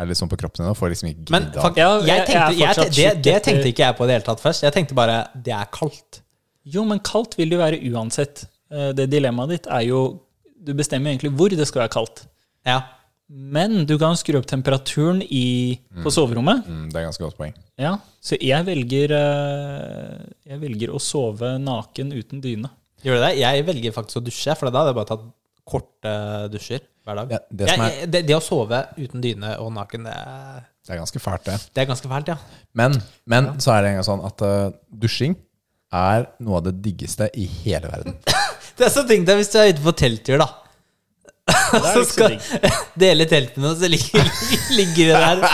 Er det litt sånn på kroppen din da? Får liksom ikke Men glidd av. fakt, Ja, jeg jeg- jeg er tenkte, jeg, fortsatt det, det skikkelig- tenkte ikke jeg på i det hele tatt først. Jeg tenkte bare det er kaldt. Jo, men kaldt vil det jo være uansett. Eh, Det dilemmaet ditt er jo Du bestemmer jo egentlig hvor det skal være kaldt. Ja. Men du kan skru opp temperaturen i, på soverommet. Mm, det er ganske godt poeng. Ja, Så jeg velger, eh, jeg velger å sove naken uten dyne. Gjør du det? Jeg velger faktisk å dusje, for da hadde jeg bare tatt korte dusjer hver dag. Ja, det som Jeg- jeg- det, det å sove uten dyne og naken, det er, Det er ganske fælt, det. det er ganske fælt, ja. Men, men så er det engang sånn at eh, dusjing er noe av det diggeste i hele verden. Det er så tenkt deg hvis du er ute på telttur, da. Det er [LAUGHS] Så ikke så skal digg. dele telt med noen, så ligger, [LAUGHS] ligger det [LAUGHS] der Det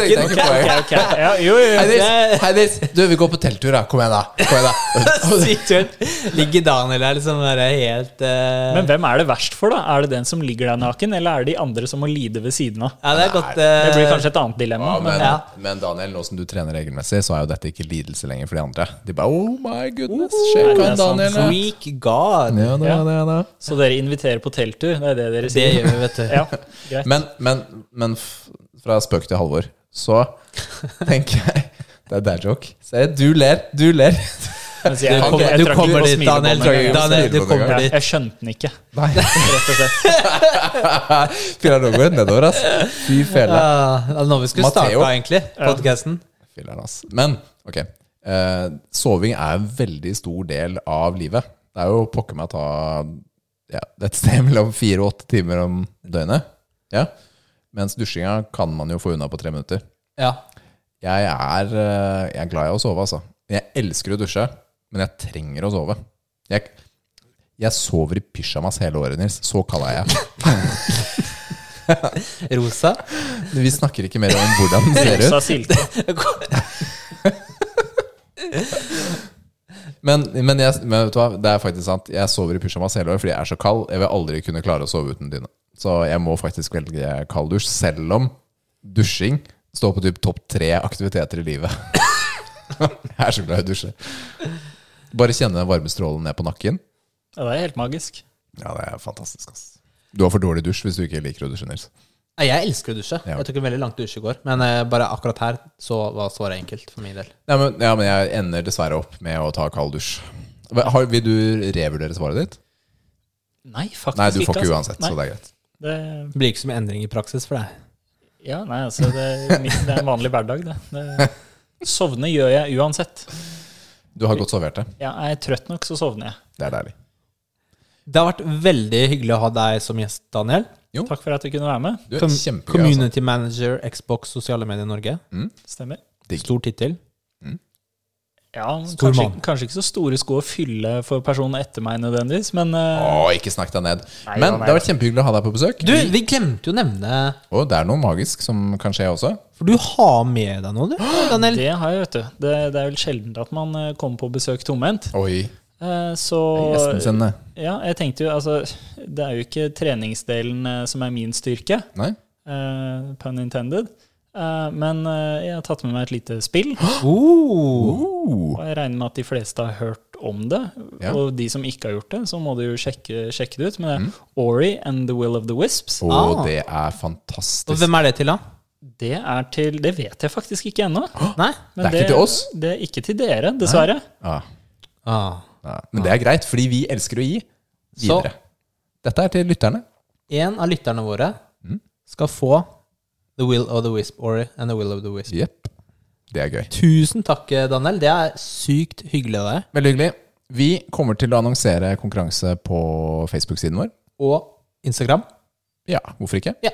tenkte jeg naken. ikke på. [LAUGHS] Ok, ok. [LAUGHS] Ja, jo, jo, jo. Heidis, Heidis, du, vi går på telttur, da. Kom igjen, da. Kom igjen, [LAUGHS] da. Sykt kult. Ligger Daniel der liksom bare helt eh, Men hvem er det verst for, da? Er det den som ligger der naken, eller er det de andre som må lide ved siden av? Ja, det er godt Det blir eh, kanskje et annet dilemma. Ja, men, men, Ja. men Daniel, nå som du trener regelmessig, så er jo dette ikke lidelse lenger for de andre. De bare Oh my goodness, er sjekk det han sant? Daniel. da. Greek god. Ja, da, Ja. da, da. Så dere inviterer på telttur? Det er det dere Det sier? gjør vi, vet du. [LAUGHS] Ja, greit. Men, men, men f- fra spøk til halvor, så tenker jeg Det er dad joke. Se, du ler, du ler. [LAUGHS] Mens jeg- Du jeg kommer, trakk du litt kommer på dit, smilebåndet Daniel. med en gang. Daniel, du Ja, kommer Ja, dit. jeg skjønte den ikke, Nei, rett og slett. Filler'n, nå går det nedover, ass. Fy fele. Ah, det er nå vi skulle Matteo. starta, egentlig, podkasten. Filler'n, ass. Men ok. Eh, soving er en veldig stor del av livet. Det er jo pokker meg ta ja, et sted mellom fire og åtte timer om døgnet. Ja. Mens dusjinga kan man jo få unna på tre minutter. Ja. Jeg er, eh, jeg er glad i å sove, altså. Jeg elsker å dusje, men jeg trenger å sove. Jeg, jeg sover i pysjamas hele året, Nils. Så kald er jeg. Rosa. [LAUGHS] Vi snakker ikke mer om hvordan den ser Rosa ut. silte. Men, men, jeg, men vet du hva, det er faktisk sant. Jeg sover i pysjamas hele året fordi jeg er så kald. Jeg vil aldri kunne klare å sove uten dyne. Så jeg må faktisk velge kald dusj, selv om dusjing står på typ topp tre aktiviteter i livet. [LAUGHS] jeg er så glad i å dusje. Bare kjenne den varme strålen ned på nakken. Ja, det er helt magisk. Ja, det er fantastisk, ass. Du har for dårlig dusj hvis du ikke liker å dusje, Nils. Nei, Jeg elsker å dusje. Jeg tok en veldig lang dusj i går, men eh, bare akkurat her så var svaret enkelt for min del. Ja, men, ja, men jeg ender dessverre opp med å ta kald dusj. Hva- Har, vil du revurdere svaret ditt? Nei, faktisk Nei, du får altså. ikke uansett, så Nei, det er greit. det Det blir ikke så mye endring i praksis for deg. Ja, nei, altså det, er min- det er en vanlig hverdag, det. det. Sovne gjør jeg uansett. Du har godt sovert det. Ja, er jeg trøtt nok, så sovner jeg. Det er deilig. Det har vært veldig hyggelig å ha deg som gjest, Daniel. Jo. Takk for at du kunne være med. Du er Som kjempegøy. Altså. community manager, Xbox, sosiale medier i Norge. Stemmer. Digg. Stor tittel. Ja, Stor kanskje, mann. kanskje ikke så store sko å fylle for personen etter meg nødvendigvis, men Å, eh, ikke snakk deg ned. Nei, Men ja, nei, det har vært kjempehyggelig å ha deg på besøk. Du, vi glemte jo å nevne Og det er noe magisk som kan skje også. For du har med deg noe, du, Daniel. det har jeg, vet du. Det, det er vel sjelden at man eh, kommer på besøk tomhendt. Oi. Eh, Så Gjesten sin. eh. Ja, jeg tenkte jo altså Det er jo ikke treningsdelen eh, som er min styrke, Nei? eh, pun intended. Eh, Men eh, jeg har tatt med meg et lite spill, Oh. Oh. og jeg regner med at de fleste har hørt om det. Ja. Mm. Og de som ikke har gjort det, så må du jo sjekke, sjekke det ut. Men det er Ori and the Will of the Wisps. Og Ah. det er Og fantastisk. hvem er det til, da? Det er til Det vet jeg faktisk ikke ennå. Nei? Men Det er ikke til oss? Det er ikke til dere, dessverre. Ah, Ah. ja. Men det er greit, fordi vi elsker å gi Så- videre. Dette er til lytterne. En av lytterne våre skal få The Will of the Wisp, Ori and The Will of the Wisp. Jepp. Det er gøy. Tusen takk, Daniel. Det er sykt hyggelig av deg. Veldig hyggelig. Vi kommer til å annonsere konkurranse på Facebook-siden vår. Og Instagram. Ja, hvorfor ikke? Ja.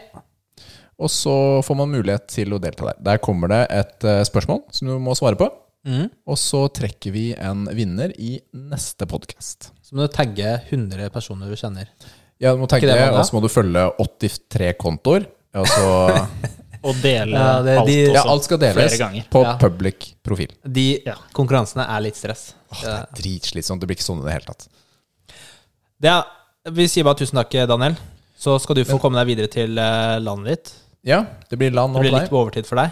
Og så får man mulighet til å delta der. Der kommer det et eh, spørsmål som du må svare på. Mm. Og så trekker vi en vinner i neste podkast. Så må du tagge 100 personer du kjenner. Ja, du må tenke Ikke det, det, Magda? og så må du følge 83 kontoer. Og så Og dele Ja, det- alt de- også. Ja, alt skal deles Flere ganger. på Ja. public profil. De Ja. konkurransene er litt stress. Åh, det er dritslitsomt. Det blir ikke sånn i det hele tatt. Det er, vi sier bare tusen takk, Daniel. Så skal du få komme deg videre til eh, landet ditt. Ja, det blir land Det og blir litt deg. på overtid for deg.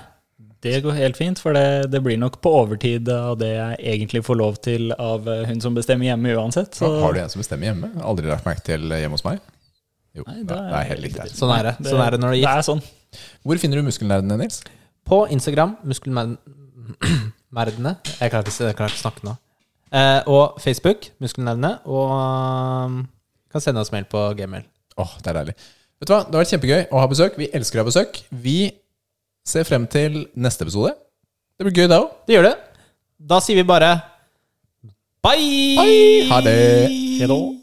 Det går helt fint, for det, det blir nok på overtid av det jeg egentlig får lov til av eh, hun som bestemmer hjemme uansett. Så Har du en som bestemmer hjemme? Aldri lagt merke til hjemme hos meg? Jo, Nei, det da er, er- helt likt her. Sånn er det, sånn er det når du er det gift. er sånn. Hvor finner du muskelnerdene, Nils? På Instagram, muskelmerdene Jeg klarer ikke, jeg klarer ikke å snakke nå. Eh, og Facebook, muskelmerdene. Og um, kan sende oss mail på gmail. Åh, det er deilig. Vet du hva, Det har vært kjempegøy å ha besøk. Vi elsker å ha besøk. Vi ser frem til neste episode. Det blir gøy, det òg. Det gjør det. Da sier vi bare bye! Ha det. Hei da.